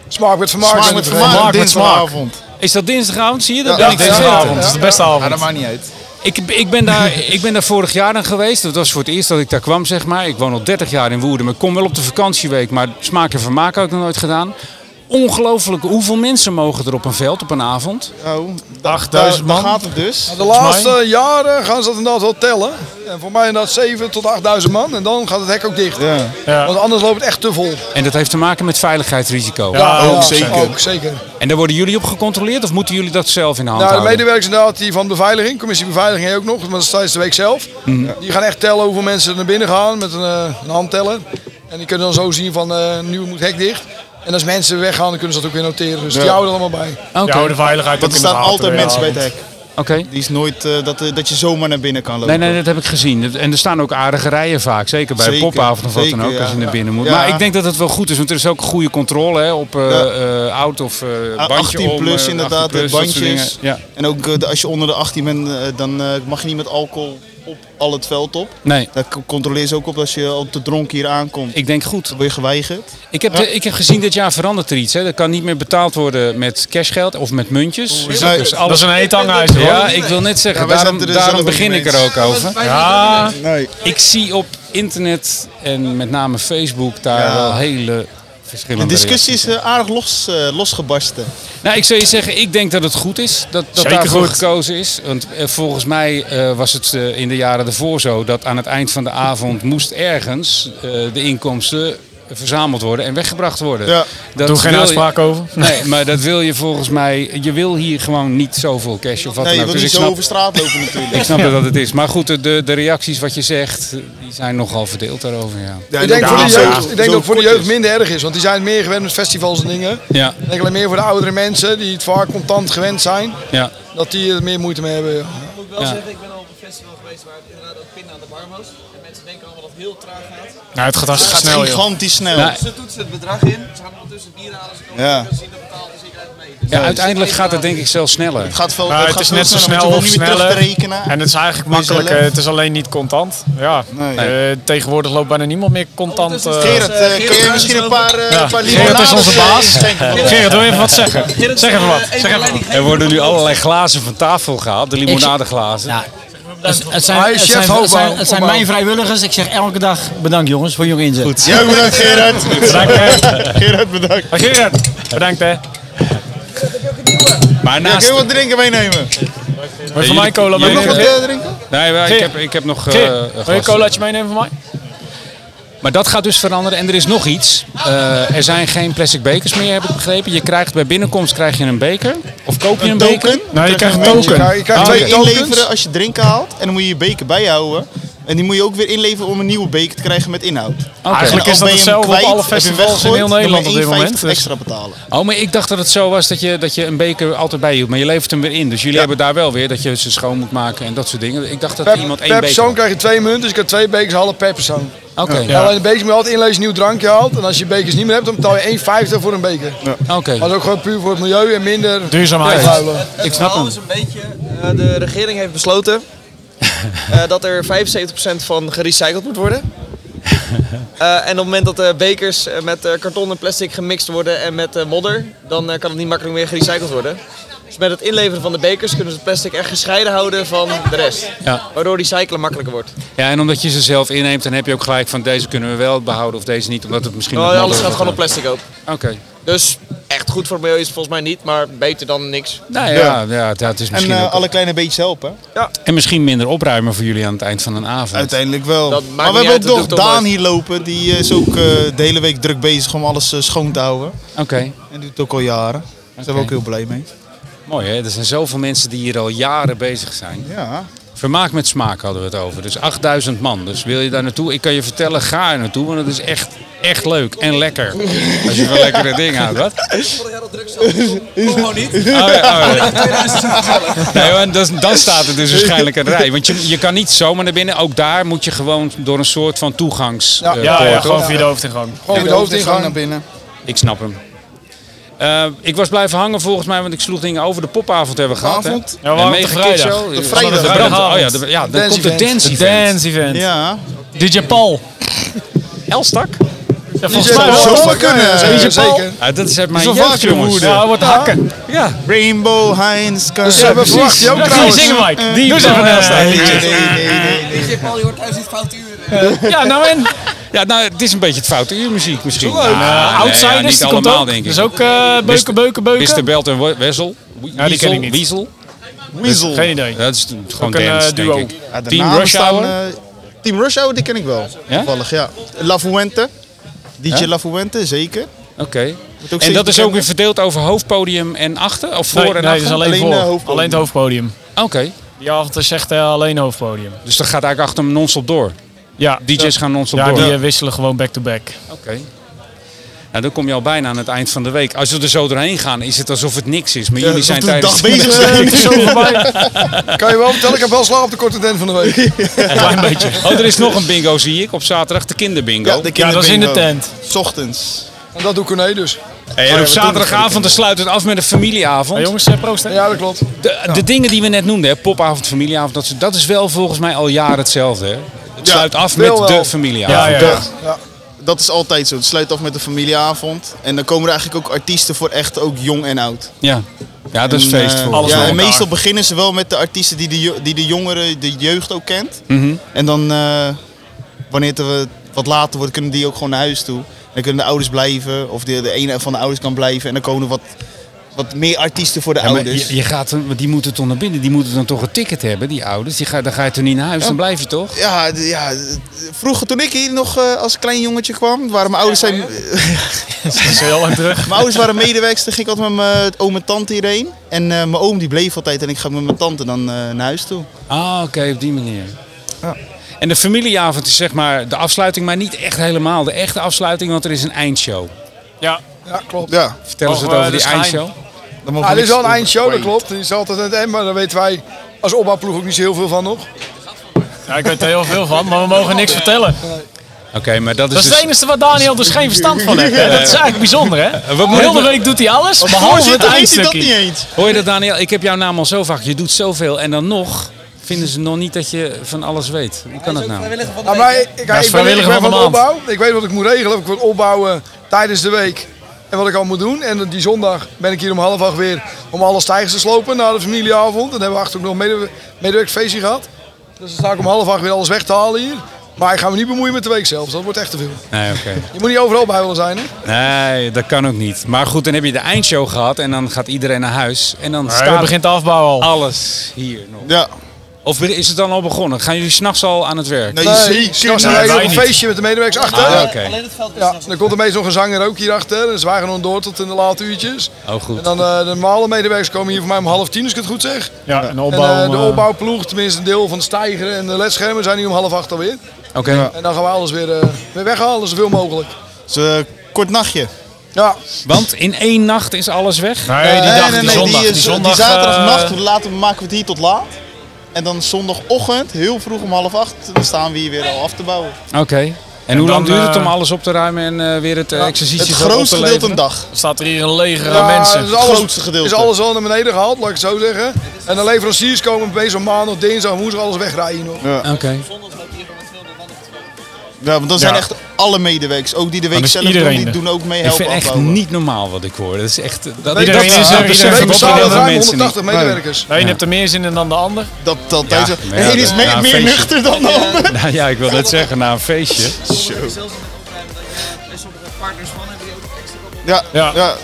[SPEAKER 5] Smaak met vermaak.
[SPEAKER 4] Smaak met vermaak.
[SPEAKER 3] Vermaak met
[SPEAKER 4] dinsdagavond.
[SPEAKER 2] Is dat dinsdagavond? Zie je dat?
[SPEAKER 4] Ja,
[SPEAKER 2] ben ik
[SPEAKER 3] Deze
[SPEAKER 2] vergeten.
[SPEAKER 3] avond, dat is de beste
[SPEAKER 6] Ja, dat
[SPEAKER 3] avond.
[SPEAKER 6] maakt niet uit.
[SPEAKER 2] Ik, ik, ben daar, ik ben daar vorig jaar aan geweest. Dat was voor het eerst dat ik daar kwam, zeg maar. Ik woon al 30 jaar in Woerden. Maar ik kom wel op de vakantieweek. Maar smaak en vermaak heb ik nog nooit gedaan. Ongelooflijk hoeveel mensen mogen er op een veld op een avond.
[SPEAKER 4] Oh, daar,
[SPEAKER 3] 8000
[SPEAKER 4] daar
[SPEAKER 3] man.
[SPEAKER 4] gaat het dus.
[SPEAKER 5] De laatste jaren gaan ze dat inderdaad wel tellen. En voor mij inderdaad 7 tot 8000 man. En dan gaat het hek ook dicht.
[SPEAKER 4] Ja.
[SPEAKER 5] Want anders loopt het echt te vol.
[SPEAKER 2] En dat heeft te maken met veiligheidsrisico.
[SPEAKER 3] Ah, Ja, Oh,
[SPEAKER 4] ook Oh, zeker.
[SPEAKER 5] Ook zeker.
[SPEAKER 2] En daar worden jullie op gecontroleerd? Of moeten jullie dat zelf in de hand
[SPEAKER 5] Nou, de
[SPEAKER 2] houden?
[SPEAKER 5] medewerkers inderdaad die van beveiliging, commissie beveiliging ook nog, maar dat is tijdens de week zelf.
[SPEAKER 4] Mhm.
[SPEAKER 5] Die gaan echt tellen hoeveel mensen er naar binnen gaan met een, eh, een handteller. En die kunnen dan zo zien van eh, nu moet het hek dicht. En als mensen weggaan, dan kunnen ze dat ook weer noteren. Dus die
[SPEAKER 4] Ja.
[SPEAKER 5] houden er allemaal bij.
[SPEAKER 3] Die
[SPEAKER 2] Oké.
[SPEAKER 3] houden de veiligheid
[SPEAKER 4] Want
[SPEAKER 3] ook in
[SPEAKER 4] er
[SPEAKER 3] de
[SPEAKER 4] staan
[SPEAKER 3] gaten,
[SPEAKER 4] altijd
[SPEAKER 3] ja.
[SPEAKER 4] mensen bij het hek.
[SPEAKER 2] Oké.
[SPEAKER 4] Die is nooit eh, dat, eh, dat je zomaar naar binnen kan
[SPEAKER 2] Nee,
[SPEAKER 4] lopen.
[SPEAKER 2] nee, dat heb ik gezien. Dat- En er staan ook aardige rijen vaak. Zeker bij
[SPEAKER 4] Zeker,
[SPEAKER 2] popavond of wat dan
[SPEAKER 4] zeker,
[SPEAKER 2] ook,
[SPEAKER 4] ja.
[SPEAKER 2] als je naar binnen moet.
[SPEAKER 4] Ja.
[SPEAKER 2] Maar ik denk dat het wel goed is, want er is ook goede controle hè, op eh
[SPEAKER 4] Ja.
[SPEAKER 2] eh, oud of eh, bandje
[SPEAKER 4] 18
[SPEAKER 2] om,
[SPEAKER 4] plus
[SPEAKER 2] eh,
[SPEAKER 4] inderdaad,
[SPEAKER 2] 18 plus,
[SPEAKER 4] de
[SPEAKER 2] dat soort
[SPEAKER 4] bandjes.
[SPEAKER 2] dingen. Ja.
[SPEAKER 4] En ook eh, de- als je onder de 18 bent, eh, dan eh, mag je niet met alcohol op al het veld op.
[SPEAKER 2] Nee,
[SPEAKER 4] Daar k- controleer ze ook op als je al te dronken hier aankomt.
[SPEAKER 2] ik denk goed.
[SPEAKER 4] Dan word je geweigerd.
[SPEAKER 2] Ik heb, de- ik heb gezien dit jaar verandert er iets. Hè. Dat kan niet meer betaald worden met cashgeld of met muntjes. Dus
[SPEAKER 4] Nee,
[SPEAKER 3] Dat
[SPEAKER 2] alles-
[SPEAKER 3] is een heet hangijs hoor.
[SPEAKER 2] ja, ik wil net zeggen,
[SPEAKER 4] Oh, Ja, wij
[SPEAKER 2] daarom,
[SPEAKER 4] zaten er dus
[SPEAKER 2] daarom
[SPEAKER 4] zelf ook
[SPEAKER 2] begin
[SPEAKER 4] niet
[SPEAKER 2] ik er
[SPEAKER 4] mee
[SPEAKER 2] ook over.
[SPEAKER 3] Ja,
[SPEAKER 4] nee.
[SPEAKER 2] Ik zie op internet en met name Facebook daar
[SPEAKER 4] Ja.
[SPEAKER 2] wel hele
[SPEAKER 4] De
[SPEAKER 2] verschillende
[SPEAKER 4] discussie is eh, aardig los, eh, losgebarsten.
[SPEAKER 2] Nou, ik zou je zeggen, ik denk dat het goed is dat, dat
[SPEAKER 3] Zeker
[SPEAKER 2] daarvoor
[SPEAKER 3] goed.
[SPEAKER 2] gekozen is. Want eh, volgens mij eh, was het eh, in de jaren daarvoor zo dat aan het eind van de avond moest ergens eh, de inkomsten verzameld worden en weggebracht worden.
[SPEAKER 4] Ja.
[SPEAKER 2] Dat
[SPEAKER 3] doe geen
[SPEAKER 2] wil je-
[SPEAKER 3] uitspraak over.
[SPEAKER 2] Nee, maar dat wil je volgens mij. Je wil hier gewoon niet zoveel cash of wat
[SPEAKER 4] Nee, je
[SPEAKER 2] dan ook. Dus ik
[SPEAKER 4] wil niet zo
[SPEAKER 2] snap,
[SPEAKER 4] over straat lopen
[SPEAKER 2] ik
[SPEAKER 4] natuurlijk.
[SPEAKER 2] snap dat het is. Maar goed, de, de, de reacties wat je zegt, eh, die zijn nogal verdeeld daarover. Ja.
[SPEAKER 5] ik denk, voor de
[SPEAKER 4] zo-
[SPEAKER 5] jeugd, ik denk
[SPEAKER 4] zo
[SPEAKER 5] dat het voor de
[SPEAKER 4] kort
[SPEAKER 5] jeugd
[SPEAKER 4] is.
[SPEAKER 5] minder erg is, want die zijn meer gewend met festivals en dingen.
[SPEAKER 2] Ja,
[SPEAKER 5] Ik denk alleen meer voor de oudere mensen die het vaak contant gewend zijn,
[SPEAKER 2] ja.
[SPEAKER 5] dat die er meer moeite mee hebben. ja.
[SPEAKER 6] Moet ik wel
[SPEAKER 2] Ja.
[SPEAKER 6] zeggen, ik ben al op een festival geweest waar het inderdaad ook pin aan de bar was. En mensen denken allemaal dat het heel traag gaat.
[SPEAKER 3] Nou, het gaat
[SPEAKER 4] Het
[SPEAKER 3] hartstikke
[SPEAKER 4] gaat
[SPEAKER 3] snel joh.
[SPEAKER 4] gigantisch snel.
[SPEAKER 2] Nou,
[SPEAKER 6] Ze toetsen het bedrag in, ze gaan ondertussen bier halen, ze komen
[SPEAKER 4] Ja.
[SPEAKER 6] ja. zien dat betaalt de zekerheid mee. Dus
[SPEAKER 2] ja, uiteindelijk gaat het denk ik zelfs sneller.
[SPEAKER 4] Het gaat veel,
[SPEAKER 3] Nou,
[SPEAKER 4] het
[SPEAKER 3] het
[SPEAKER 4] gaat
[SPEAKER 3] is
[SPEAKER 4] veel
[SPEAKER 3] net zo
[SPEAKER 4] sneller,
[SPEAKER 3] snel of
[SPEAKER 4] want je hoeft niet meer
[SPEAKER 3] sneller.
[SPEAKER 4] terug te rekenen.
[SPEAKER 3] En het is eigenlijk
[SPEAKER 4] Voor jezelf.
[SPEAKER 3] makkelijk. eh, Het is alleen niet contant. Ja.
[SPEAKER 4] Nee.
[SPEAKER 3] Eh, tegenwoordig loopt bijna niemand meer contant. eh.
[SPEAKER 4] Gerard, eh,
[SPEAKER 6] Gerard
[SPEAKER 4] kun je
[SPEAKER 6] Oh, is
[SPEAKER 4] misschien een
[SPEAKER 6] ook-
[SPEAKER 4] paar, eh
[SPEAKER 3] Ja,
[SPEAKER 4] een paar
[SPEAKER 3] Gerard is
[SPEAKER 4] limonades,
[SPEAKER 3] onze
[SPEAKER 4] eh,
[SPEAKER 3] baas.
[SPEAKER 4] inschenken?
[SPEAKER 3] Gerard, wil je even wat zeggen?
[SPEAKER 6] eh,
[SPEAKER 3] Zeg eh, even wat. Zeg even wat.
[SPEAKER 2] Er worden nu allerlei glazen van tafel gehaald, de limonadeglazen.
[SPEAKER 7] Nou,
[SPEAKER 3] Het, het zijn,
[SPEAKER 5] Hij is
[SPEAKER 3] het zijn,
[SPEAKER 5] chef
[SPEAKER 3] het zijn, het zijn
[SPEAKER 5] opbouw.
[SPEAKER 3] mijn vrijwilligers. Ik zeg elke dag bedankt jongens voor jullie inzet. Goed.
[SPEAKER 4] Jij ook bedankt Gerard.
[SPEAKER 3] Bedankt hè.
[SPEAKER 4] Gerard bedankt. Mag
[SPEAKER 3] Eh, Gerard, bedankt
[SPEAKER 2] Eh,
[SPEAKER 3] hè.
[SPEAKER 2] Maar
[SPEAKER 4] ik
[SPEAKER 2] naast...
[SPEAKER 4] heel wat drinken meenemen?
[SPEAKER 3] Wil je van mij cola
[SPEAKER 4] Wil je nog wat
[SPEAKER 3] meenemen?
[SPEAKER 4] eh, drinken?
[SPEAKER 2] Nee, maar ik
[SPEAKER 3] Geer.
[SPEAKER 2] heb, ik heb nog... eh, een
[SPEAKER 3] Geer, wil je een
[SPEAKER 2] glas.
[SPEAKER 3] colaatje meenemen van mij?
[SPEAKER 2] Maar dat gaat dus veranderen. En er is nog iets. Eh, er zijn geen plastic bekers meer, heb ik begrepen. Je krijgt bij binnenkomst krijg je een beker. Of koop je een, beker.
[SPEAKER 4] Token. Ah,
[SPEAKER 3] Nou, je krijgt een
[SPEAKER 5] Je krijgt, je
[SPEAKER 4] Die moet
[SPEAKER 5] krijgt twee
[SPEAKER 4] je
[SPEAKER 5] tokens.
[SPEAKER 4] inleveren als je drinken haalt. En dan moet je je beker bijhouden. En die moet je ook weer inleveren om een nieuwe beker te krijgen met inhoud.
[SPEAKER 3] Eigenlijk
[SPEAKER 4] En
[SPEAKER 3] is dat
[SPEAKER 4] als ben je hem
[SPEAKER 3] hetzelfde op
[SPEAKER 4] kwijt,
[SPEAKER 3] alle
[SPEAKER 4] heb je hem
[SPEAKER 3] festivals in
[SPEAKER 4] weggegooid,
[SPEAKER 3] heel
[SPEAKER 4] dan moet je
[SPEAKER 3] Nederland op dit moment.
[SPEAKER 4] 1,50
[SPEAKER 3] Dus-
[SPEAKER 4] extra betalen.
[SPEAKER 2] Oh, maar ik dacht dat het zo was dat je, dat je een beker altijd bij hield. Maar je levert hem weer in. Dus jullie hebben daar wel weer dat je ze schoon moet maken en dat soort dingen. Ik dacht dat
[SPEAKER 5] Per,
[SPEAKER 2] iemand
[SPEAKER 5] per
[SPEAKER 2] één beker...
[SPEAKER 5] persoon krijg je twee munten, dus ik heb twee bekers halen per persoon.
[SPEAKER 2] Oké,
[SPEAKER 5] Ja. Alleen de bekers moet je altijd inlezen, nieuw drankje haalt. En als je bekers niet meer hebt, dan betaal je 1,50 voor een beker.
[SPEAKER 2] oké.
[SPEAKER 5] Maar dat is ook gewoon puur voor het milieu en minder
[SPEAKER 3] Duurzaamheid.
[SPEAKER 5] uithuilen.
[SPEAKER 2] Ik snap hem.
[SPEAKER 6] is een beetje, eh, de regering heeft besloten eh, dat er 75% van gerecycled moet worden. Eh, en op het moment dat de bekers eh, met eh, karton en plastic gemixt worden en met eh, modder, dan eh, kan het niet makkelijk meer gerecycled worden. Dus met het inleveren van de bekers kunnen ze het plastic echt gescheiden houden van de rest.
[SPEAKER 2] Ja.
[SPEAKER 6] Waardoor recyclen makkelijker wordt.
[SPEAKER 2] Ja, en omdat je ze zelf inneemt, dan heb je ook gelijk van deze kunnen we wel behouden of deze niet. Omdat het misschien...
[SPEAKER 6] Oh,
[SPEAKER 2] nog
[SPEAKER 6] ja, alles gaat
[SPEAKER 2] modder
[SPEAKER 6] gewoon op
[SPEAKER 2] wordt.
[SPEAKER 6] plastic ook.
[SPEAKER 2] Oké.
[SPEAKER 6] Dus echt goed voor het milieu is het volgens mij niet, maar beter dan niks.
[SPEAKER 2] Nou ja, ja, dat is
[SPEAKER 4] En
[SPEAKER 2] misschien
[SPEAKER 4] eh,
[SPEAKER 2] ook-
[SPEAKER 4] alle kleine beetjes helpen.
[SPEAKER 2] en misschien minder opruimen voor jullie aan het eind van een avond.
[SPEAKER 4] Uiteindelijk wel.
[SPEAKER 6] Dat maakt
[SPEAKER 4] maar we
[SPEAKER 6] niet
[SPEAKER 4] hebben
[SPEAKER 6] uit,
[SPEAKER 4] ook
[SPEAKER 6] dat
[SPEAKER 4] nog
[SPEAKER 6] doet toch
[SPEAKER 4] Daan
[SPEAKER 6] nooit.
[SPEAKER 4] hier lopen. Die eh, is ook eh, de hele week druk bezig om alles eh, schoon te houden.
[SPEAKER 2] Oké.
[SPEAKER 4] En doet het ook al jaren. Daar zijn we ook heel blij mee.
[SPEAKER 2] Mooi hè, er zijn zoveel mensen die hier al jaren bezig zijn.
[SPEAKER 4] Ja.
[SPEAKER 2] Vermaak met smaak hadden we het over. Dus 8000 man. Dus wil je daar naartoe? Ik kan je vertellen, ga er naartoe. Want het is echt, echt leuk en lekker. Als je van lekkere dingen houdt. Wat? Oh, ja, oh, ja. Nee, want dat, dan staat er dus waarschijnlijk een rij. Want je, je kan niet zomaar naar binnen. Ook daar moet je gewoon door een soort van toegangs... eh,
[SPEAKER 3] Ja, ja,
[SPEAKER 2] poort,
[SPEAKER 3] gewoon
[SPEAKER 2] hoor.
[SPEAKER 3] via de hoofdingang.
[SPEAKER 5] Gewoon met de hoofdingang naar binnen.
[SPEAKER 2] Ik snap hem. Eh, ik was blijven hangen volgens mij, want ik sloeg dingen over. De popavond hebben we gehad. hè?
[SPEAKER 4] Popavond?
[SPEAKER 3] Ja, we waren
[SPEAKER 2] En
[SPEAKER 3] op de
[SPEAKER 2] mega
[SPEAKER 3] vrijdag.
[SPEAKER 2] kidshow.
[SPEAKER 4] De vrijdag.
[SPEAKER 2] De
[SPEAKER 3] Vrijdagavond.
[SPEAKER 2] Oh ja, de- ja dan
[SPEAKER 5] Dance
[SPEAKER 2] komt de
[SPEAKER 5] event.
[SPEAKER 2] dance
[SPEAKER 3] De
[SPEAKER 2] event.
[SPEAKER 3] dance event.
[SPEAKER 4] Ja.
[SPEAKER 3] DJ Paul.
[SPEAKER 2] Elstak?
[SPEAKER 3] Ja,
[SPEAKER 5] DJ
[SPEAKER 3] volgens mij
[SPEAKER 5] Paul.
[SPEAKER 3] wel.
[SPEAKER 5] Zou
[SPEAKER 4] wel
[SPEAKER 5] maar kunnen,
[SPEAKER 4] kunnen,
[SPEAKER 5] zeker,
[SPEAKER 3] DJ Paul.
[SPEAKER 5] zeker.
[SPEAKER 2] Ah, dat is uit
[SPEAKER 4] Zo
[SPEAKER 2] mijn
[SPEAKER 4] vaak
[SPEAKER 2] jeugd,
[SPEAKER 4] je
[SPEAKER 2] jongens.
[SPEAKER 4] woorden.
[SPEAKER 3] Ja, hij wordt hakken.
[SPEAKER 2] Ja.
[SPEAKER 4] Rainbow Heinz. Kan-
[SPEAKER 5] Dus hebben we
[SPEAKER 4] precies. Eh,
[SPEAKER 5] verwacht, je ook
[SPEAKER 3] Ja, die
[SPEAKER 5] trouwens.
[SPEAKER 3] zingen Mike. Die Doe ze even
[SPEAKER 4] Nee, nee, nee, nee.
[SPEAKER 7] DJ Paul, je hoort thuis niet fout uren.
[SPEAKER 6] eh.
[SPEAKER 3] Ja, nou en?
[SPEAKER 2] ja, nou, het is een beetje het foute uurmuziek misschien.
[SPEAKER 5] Zo leuk.
[SPEAKER 2] Ah,
[SPEAKER 3] Eh,
[SPEAKER 2] nee, ja,
[SPEAKER 3] Outsiders,
[SPEAKER 2] niet
[SPEAKER 3] die komt
[SPEAKER 2] allemaal,
[SPEAKER 3] ook.
[SPEAKER 2] denk ik.
[SPEAKER 3] Dus ook eh, beuken, beuken,
[SPEAKER 2] Mr.
[SPEAKER 3] beuken.
[SPEAKER 2] Belt en We- Wessel.
[SPEAKER 3] Ja, die ken ik niet.
[SPEAKER 2] Weasel.
[SPEAKER 4] Weasel.
[SPEAKER 3] Geen idee.
[SPEAKER 2] Dat is t- gewoon
[SPEAKER 3] Ook een,
[SPEAKER 2] dance,
[SPEAKER 3] eh, duo.
[SPEAKER 2] denk ik.
[SPEAKER 4] Ja, de
[SPEAKER 2] Team
[SPEAKER 4] namen
[SPEAKER 2] Rush
[SPEAKER 4] staan,
[SPEAKER 2] Hour.
[SPEAKER 4] eh, Team Rush Hour, die ken ik wel.
[SPEAKER 2] Ja?
[SPEAKER 4] Toevallig, ja. La Fuente. DJ
[SPEAKER 2] Ja?
[SPEAKER 4] La Fuente, zeker.
[SPEAKER 2] Oké.
[SPEAKER 4] ook
[SPEAKER 2] En
[SPEAKER 4] zeker
[SPEAKER 2] dat is ook
[SPEAKER 4] kennen.
[SPEAKER 2] weer verdeeld over hoofdpodium en achter? Of voor
[SPEAKER 3] Nee,
[SPEAKER 2] en
[SPEAKER 3] nee, dus
[SPEAKER 2] achter?
[SPEAKER 3] alleen
[SPEAKER 4] Alleen, eh,
[SPEAKER 3] voor.
[SPEAKER 4] hoofdpodium.
[SPEAKER 3] Alleen het hoofdpodium.
[SPEAKER 2] Oké.
[SPEAKER 3] Die avond is echt eh, alleen hoofdpodium.
[SPEAKER 2] Dus dat gaat eigenlijk achter hem non-stop door.
[SPEAKER 3] Ja.
[SPEAKER 2] DJ's gaan non-stop
[SPEAKER 3] Ja,
[SPEAKER 2] door.
[SPEAKER 3] die eh, wisselen gewoon back-to-back.
[SPEAKER 2] Oké. Nou, dan kom je al bijna aan het eind van de week. Als we er zo doorheen gaan, is het alsof het niks is. Maar jullie
[SPEAKER 4] Alsof
[SPEAKER 2] zijn
[SPEAKER 4] we een eh, dag
[SPEAKER 2] tijdens...
[SPEAKER 4] bezig zijn.
[SPEAKER 5] Kan je wel vertellen, ik heb wel slaap op de korte tent van de week.
[SPEAKER 3] Klein beetje.
[SPEAKER 2] Oh, er is nog een bingo, zie ik, op zaterdag. De kinderbingo.
[SPEAKER 4] Ja, de
[SPEAKER 3] Ja, dat is in de
[SPEAKER 4] kinderbingo.
[SPEAKER 3] tent.
[SPEAKER 4] S ochtends.
[SPEAKER 5] En dat doet Corné dus.
[SPEAKER 2] Hey,
[SPEAKER 4] Oh,
[SPEAKER 2] en op zaterdagavond dan sluit het af met een familieavond.
[SPEAKER 4] Ah,
[SPEAKER 3] Hey, jongens, eh, proost hè.
[SPEAKER 5] Ja, dat klopt.
[SPEAKER 2] de, de dingen die we net noemden, hè, popavond, familieavond, dat, is- dat is wel volgens mij al jaren hetzelfde. Hè? Het
[SPEAKER 4] Ja,
[SPEAKER 2] sluit af met
[SPEAKER 5] veel wel.
[SPEAKER 2] de familieavond.
[SPEAKER 3] Ja, ja.
[SPEAKER 4] Dat, dat is altijd zo. Het sluit af met de familieavond. En dan komen er eigenlijk ook artiesten voor echt ook jong en oud.
[SPEAKER 2] Ja. Ja, dat is
[SPEAKER 4] En,
[SPEAKER 2] feest
[SPEAKER 4] eh,
[SPEAKER 2] voor
[SPEAKER 3] alles
[SPEAKER 2] ons.
[SPEAKER 4] ja,
[SPEAKER 3] door
[SPEAKER 4] en
[SPEAKER 3] elkaar.
[SPEAKER 4] meestal beginnen ze wel met de artiesten die de, jo- die de jongeren, de jeugd ook kent.
[SPEAKER 2] Mhm.
[SPEAKER 4] En dan, eh, wanneer het eh, wat later wordt, kunnen die ook gewoon naar huis toe. Dan kunnen de ouders blijven, of de, de ene van de ouders kan blijven. En dan komen er wat, wat meer artiesten voor de
[SPEAKER 2] Ja, maar
[SPEAKER 4] ouders.
[SPEAKER 2] je, je gaat, dan- want die moeten toch naar binnen, die moeten dan toch een ticket hebben, die ouders. Die ga, dan ga je toch niet naar huis, dan blijf je toch?
[SPEAKER 4] Ja, d- ja, d- vroeger toen ik hier nog eh, als klein jongetje kwam, waren mijn ouders zijn,
[SPEAKER 3] Dat is heel lang terug.
[SPEAKER 4] Mijn ouders waren medewerkers, dan ging ik altijd met mijn oom en tante hierheen. En eh, mijn oom die bleef altijd en ik ga met mijn tante dan eh, naar huis toe.
[SPEAKER 2] Ah, oké, op die manier. En de familieavond is zeg maar de afsluiting, maar niet echt helemaal de echte afsluiting, want er is een eindshow.
[SPEAKER 3] Ja.
[SPEAKER 5] Ja, klopt.
[SPEAKER 4] Ja,
[SPEAKER 2] Vertel eens
[SPEAKER 3] Oh,
[SPEAKER 2] wat
[SPEAKER 3] eh,
[SPEAKER 2] over
[SPEAKER 3] dat
[SPEAKER 2] die
[SPEAKER 3] is geheim.
[SPEAKER 2] eindshow.
[SPEAKER 4] dan mogen
[SPEAKER 5] Ja,
[SPEAKER 4] we
[SPEAKER 5] dit is
[SPEAKER 4] niks
[SPEAKER 5] wel een eindshow, dat
[SPEAKER 4] kwijt.
[SPEAKER 5] klopt. Die is altijd aan het end, maar daar weten wij als opbouwploeg ook niet zo heel veel van nog.
[SPEAKER 3] ja, ik weet er heel veel van, maar we mogen niks vertellen.
[SPEAKER 2] Oké, maar dat Dus is
[SPEAKER 3] Dat is het
[SPEAKER 2] dus-
[SPEAKER 3] enige wat Daniel dus geen verstand van heeft. hè. Dat is eigenlijk bijzonder, hè?
[SPEAKER 2] Eh, Wat moet
[SPEAKER 3] Heel
[SPEAKER 2] ik-
[SPEAKER 3] de week doet hij alles, behalve het
[SPEAKER 4] Voorzitter, weet hij dat niet
[SPEAKER 3] eindstukje.
[SPEAKER 4] eens?
[SPEAKER 2] Hoor je dat, Daniel? Ik heb jouw naam al zo vaak. Je doet zoveel en dan nog vinden ze nog niet dat je van alles weet. Hoe kan dat nou?
[SPEAKER 7] Vrijwilliger van de
[SPEAKER 5] Nou, maar ik, ik, ik ben, ik
[SPEAKER 3] vrijwilliger van
[SPEAKER 5] ben van
[SPEAKER 3] de
[SPEAKER 5] de opbouw. Ik weet wat ik moet regelen. Ik wil opbouwen tijdens de week. En wat ik al moet doen. En die zondag ben ik hier om half acht weer om alles tijgers te slopen na de familieavond. En dan hebben we achter ook nog een medewe- medewerkersfeestje gehad. Dus dan sta ik om half acht weer alles weg te halen hier. Maar ik ga me niet bemoeien met de week zelfs, dat wordt echt te veel.
[SPEAKER 2] Nee, oké.
[SPEAKER 5] Je moet niet overal bij willen zijn, hè?
[SPEAKER 2] Nee, dat kan ook niet. Maar goed, dan heb je de eindshow gehad en dan gaat iedereen naar huis. En dan
[SPEAKER 3] Daar
[SPEAKER 2] staat
[SPEAKER 3] begint de afbouw al.
[SPEAKER 2] alles hier nog.
[SPEAKER 4] Ja,
[SPEAKER 2] Of is het dan al begonnen? Gaan jullie s'nachts al aan het werk?
[SPEAKER 4] nee,
[SPEAKER 5] Nee,
[SPEAKER 4] zeker
[SPEAKER 5] s'nachts
[SPEAKER 4] niet.
[SPEAKER 5] zijn wij op
[SPEAKER 3] niet.
[SPEAKER 5] een feestje met de medewerkers achter.
[SPEAKER 2] Ah, oké.
[SPEAKER 7] het veld is
[SPEAKER 5] Ja, dan komt er meestal nog een zanger ook hierachter. Dus wij gaan dan door tot in de late uurtjes.
[SPEAKER 2] Oh, goed.
[SPEAKER 5] En dan eh, de normale medewerkers komen hier voor mij om half tien, als ik het goed zeg.
[SPEAKER 3] Ja, en de
[SPEAKER 5] En eh,
[SPEAKER 3] opbouw.
[SPEAKER 5] de
[SPEAKER 3] eh,
[SPEAKER 5] opbouwploeg, tenminste een deel van de stijgeren en de ledschermen zijn hier om half acht alweer.
[SPEAKER 2] Oké.
[SPEAKER 5] En dan gaan we alles weer, eh, weer weghalen, zoveel mogelijk.
[SPEAKER 4] Het is een Dus, eh, kort nachtje.
[SPEAKER 5] Ja,
[SPEAKER 2] Want in één nacht is alles weg.
[SPEAKER 3] Nee, die
[SPEAKER 4] Eh,
[SPEAKER 3] dag, die zondag.
[SPEAKER 4] die, is,
[SPEAKER 3] Die zondag,
[SPEAKER 4] die zaterdagnacht,
[SPEAKER 3] eh,
[SPEAKER 4] later maken we het hier tot laat. En dan zondagochtend, heel vroeg om half acht, dan staan we hier weer al af te bouwen.
[SPEAKER 2] Oké. En, hoe lang
[SPEAKER 3] dan,
[SPEAKER 2] duurt het
[SPEAKER 3] eh,
[SPEAKER 2] om alles op te ruimen en eh, weer het eh, exercitie
[SPEAKER 4] Het
[SPEAKER 2] zo op te
[SPEAKER 4] grootste gedeelte
[SPEAKER 2] leveren?
[SPEAKER 4] een dag.
[SPEAKER 3] staat er hier een leger aan
[SPEAKER 5] Ja,
[SPEAKER 3] mensen.
[SPEAKER 5] is
[SPEAKER 4] Het
[SPEAKER 5] alles,
[SPEAKER 4] grootste gedeelte.
[SPEAKER 5] is alles al naar beneden gehaald, laat ik het zo zeggen. En de leveranciers komen meestal maandag, dinsdag, woensdag alles wegrijden hier nog.
[SPEAKER 2] Oké.
[SPEAKER 4] Ja, want dan zijn
[SPEAKER 3] Ja.
[SPEAKER 4] echt alle medewerkers, ook die de week
[SPEAKER 3] is
[SPEAKER 4] zelf doen,
[SPEAKER 3] iedereen
[SPEAKER 4] die
[SPEAKER 3] er.
[SPEAKER 4] doen ook mee
[SPEAKER 2] Ik
[SPEAKER 4] helpen
[SPEAKER 2] vind echt
[SPEAKER 4] afbouwen.
[SPEAKER 2] niet normaal wat ik hoor. Dat is echt. eh, Dat,
[SPEAKER 5] Weet je,
[SPEAKER 3] Iedereen
[SPEAKER 2] dat, dat
[SPEAKER 3] is er, iedereen
[SPEAKER 5] We
[SPEAKER 2] beseffen
[SPEAKER 3] is er.
[SPEAKER 2] heel
[SPEAKER 5] betalen
[SPEAKER 2] veel
[SPEAKER 5] ruim
[SPEAKER 2] mensen
[SPEAKER 5] 180
[SPEAKER 2] niet.
[SPEAKER 5] medewerkers.
[SPEAKER 3] De een hebt er meer zin in dan de ander.
[SPEAKER 4] Dat, dat
[SPEAKER 2] Ja,
[SPEAKER 4] deze,
[SPEAKER 2] maar
[SPEAKER 4] de
[SPEAKER 2] ja,
[SPEAKER 4] ene is
[SPEAKER 2] dat-
[SPEAKER 4] meer,
[SPEAKER 2] ja,
[SPEAKER 4] meer
[SPEAKER 2] feestje.
[SPEAKER 4] nuchter dan de ander.
[SPEAKER 2] Nou ja, ik wil net zeggen, na een feestje.
[SPEAKER 7] partners van hebben die ook extra
[SPEAKER 4] Ja,
[SPEAKER 3] Ja.
[SPEAKER 4] ja.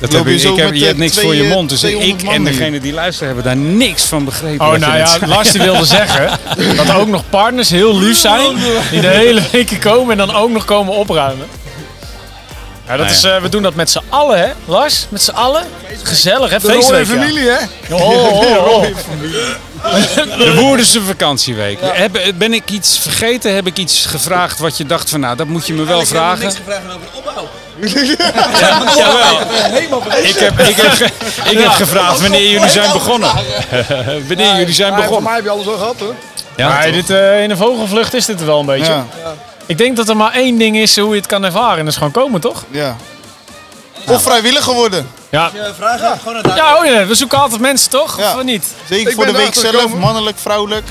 [SPEAKER 2] Dat
[SPEAKER 4] Loop
[SPEAKER 2] heb
[SPEAKER 4] je
[SPEAKER 2] ik,
[SPEAKER 4] zo
[SPEAKER 2] ik heb,
[SPEAKER 4] met,
[SPEAKER 2] je hebt
[SPEAKER 4] eh,
[SPEAKER 2] niks
[SPEAKER 4] twee,
[SPEAKER 2] voor je
[SPEAKER 4] eh,
[SPEAKER 2] mond. Dus
[SPEAKER 4] 200
[SPEAKER 2] ik
[SPEAKER 4] man
[SPEAKER 2] en
[SPEAKER 4] hier.
[SPEAKER 2] degene die luisteren hebben daar niks van begrepen.
[SPEAKER 3] Oh,
[SPEAKER 2] wat je
[SPEAKER 3] nou
[SPEAKER 2] net
[SPEAKER 3] ja,
[SPEAKER 2] zei.
[SPEAKER 3] Lars die wilde zeggen dat er ook nog partners heel lief zijn. Die de hele weken komen en dan ook nog komen opruimen. Ja, dat
[SPEAKER 2] Nou
[SPEAKER 3] is, eh, we doen dat met z'n allen, hè? Lars, met z'n allen. Gezellig, hè?
[SPEAKER 5] De rode
[SPEAKER 3] Feestweek, ja.
[SPEAKER 5] familie, hè?
[SPEAKER 3] Oh, oh, oh.
[SPEAKER 2] De Woerdense vakantieweek. Heb, ben ik iets vergeten? Heb ik iets gevraagd wat je dacht van nou, dat moet je me wel vragen?
[SPEAKER 7] niks gevraagd over de opbouw.
[SPEAKER 2] Jawel. Ik heb, ik heb, ge- ik heb gevraagd wanneer jullie zijn begonnen. wanneer jullie zijn
[SPEAKER 5] Maar
[SPEAKER 2] begonnen.
[SPEAKER 5] Voor Nou, mij heb je alles al gehad, hoor.
[SPEAKER 2] Ja,
[SPEAKER 3] Maar dit, eh, in een vogelvlucht is dit er wel een beetje.
[SPEAKER 4] Ja,
[SPEAKER 3] Ik denk dat er maar één ding is hoe je het kan ervaren. En dat is gewoon komen, toch?
[SPEAKER 4] ja. Of vrijwilliger worden.
[SPEAKER 3] Ja.
[SPEAKER 7] Eh, Vragen? Gewoon naar
[SPEAKER 3] Ja, oh ja, we zoeken altijd mensen, toch?
[SPEAKER 4] Ja.
[SPEAKER 3] Of niet?
[SPEAKER 4] Zeker
[SPEAKER 5] Ik
[SPEAKER 4] voor de
[SPEAKER 5] ben
[SPEAKER 4] week
[SPEAKER 5] erachter
[SPEAKER 4] zelf,
[SPEAKER 5] gekomen.
[SPEAKER 4] mannelijk, vrouwelijk.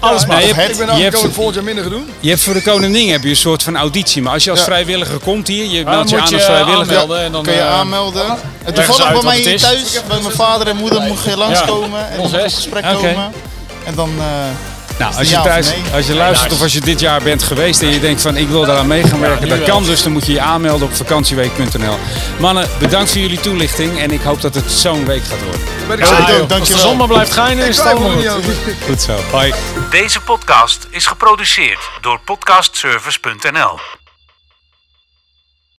[SPEAKER 3] Alles maar.
[SPEAKER 2] Nee, je,
[SPEAKER 4] het-
[SPEAKER 5] Ik
[SPEAKER 2] hebt,
[SPEAKER 5] ben
[SPEAKER 2] je,
[SPEAKER 5] eigenlijk ook
[SPEAKER 2] hebt,
[SPEAKER 5] volgend jaar minder gedoen.
[SPEAKER 2] je hebt voor de koningin heb je een soort van auditie. Maar als je als
[SPEAKER 4] Ja.
[SPEAKER 2] vrijwilliger komt hier, je
[SPEAKER 3] Dan
[SPEAKER 2] meldt Ah, je
[SPEAKER 3] moet
[SPEAKER 2] aan
[SPEAKER 3] je
[SPEAKER 2] als vrijwilliger.
[SPEAKER 3] aanmelden en dan...
[SPEAKER 4] Kun je
[SPEAKER 3] eh,
[SPEAKER 4] aanmelden. En
[SPEAKER 3] eens uit
[SPEAKER 4] toevallig bij
[SPEAKER 3] wat
[SPEAKER 4] mij
[SPEAKER 3] het
[SPEAKER 4] hier
[SPEAKER 3] is.
[SPEAKER 4] thuis, bij mijn vader en moeder, moet je langskomen. En dan
[SPEAKER 3] Ons
[SPEAKER 4] moet ik op
[SPEAKER 3] is.
[SPEAKER 4] gesprek
[SPEAKER 2] Oké.
[SPEAKER 4] komen. En dan... eh,
[SPEAKER 2] Nou, als
[SPEAKER 4] het
[SPEAKER 2] je,
[SPEAKER 4] ja of
[SPEAKER 2] thuis,
[SPEAKER 4] nee?
[SPEAKER 2] als je luistert of als je dit jaar bent geweest en je denkt van ik wil daaraan mee gaan werken, dat kan dus. Dan moet je je aanmelden op vakantieweek.nl. Mannen, bedankt voor jullie toelichting en ik hoop dat het zo'n week gaat worden.
[SPEAKER 5] Daar ben ik
[SPEAKER 4] Ja,
[SPEAKER 5] zeker.
[SPEAKER 4] joh,
[SPEAKER 5] Ik
[SPEAKER 3] Als de
[SPEAKER 4] dankjewel.
[SPEAKER 3] zon maar blijft schijnen, is het
[SPEAKER 5] twijfel
[SPEAKER 3] allemaal
[SPEAKER 5] er niet
[SPEAKER 3] goed.
[SPEAKER 5] over.
[SPEAKER 2] Goed zo. Bye.
[SPEAKER 1] Deze podcast is geproduceerd door podcastservice.nl.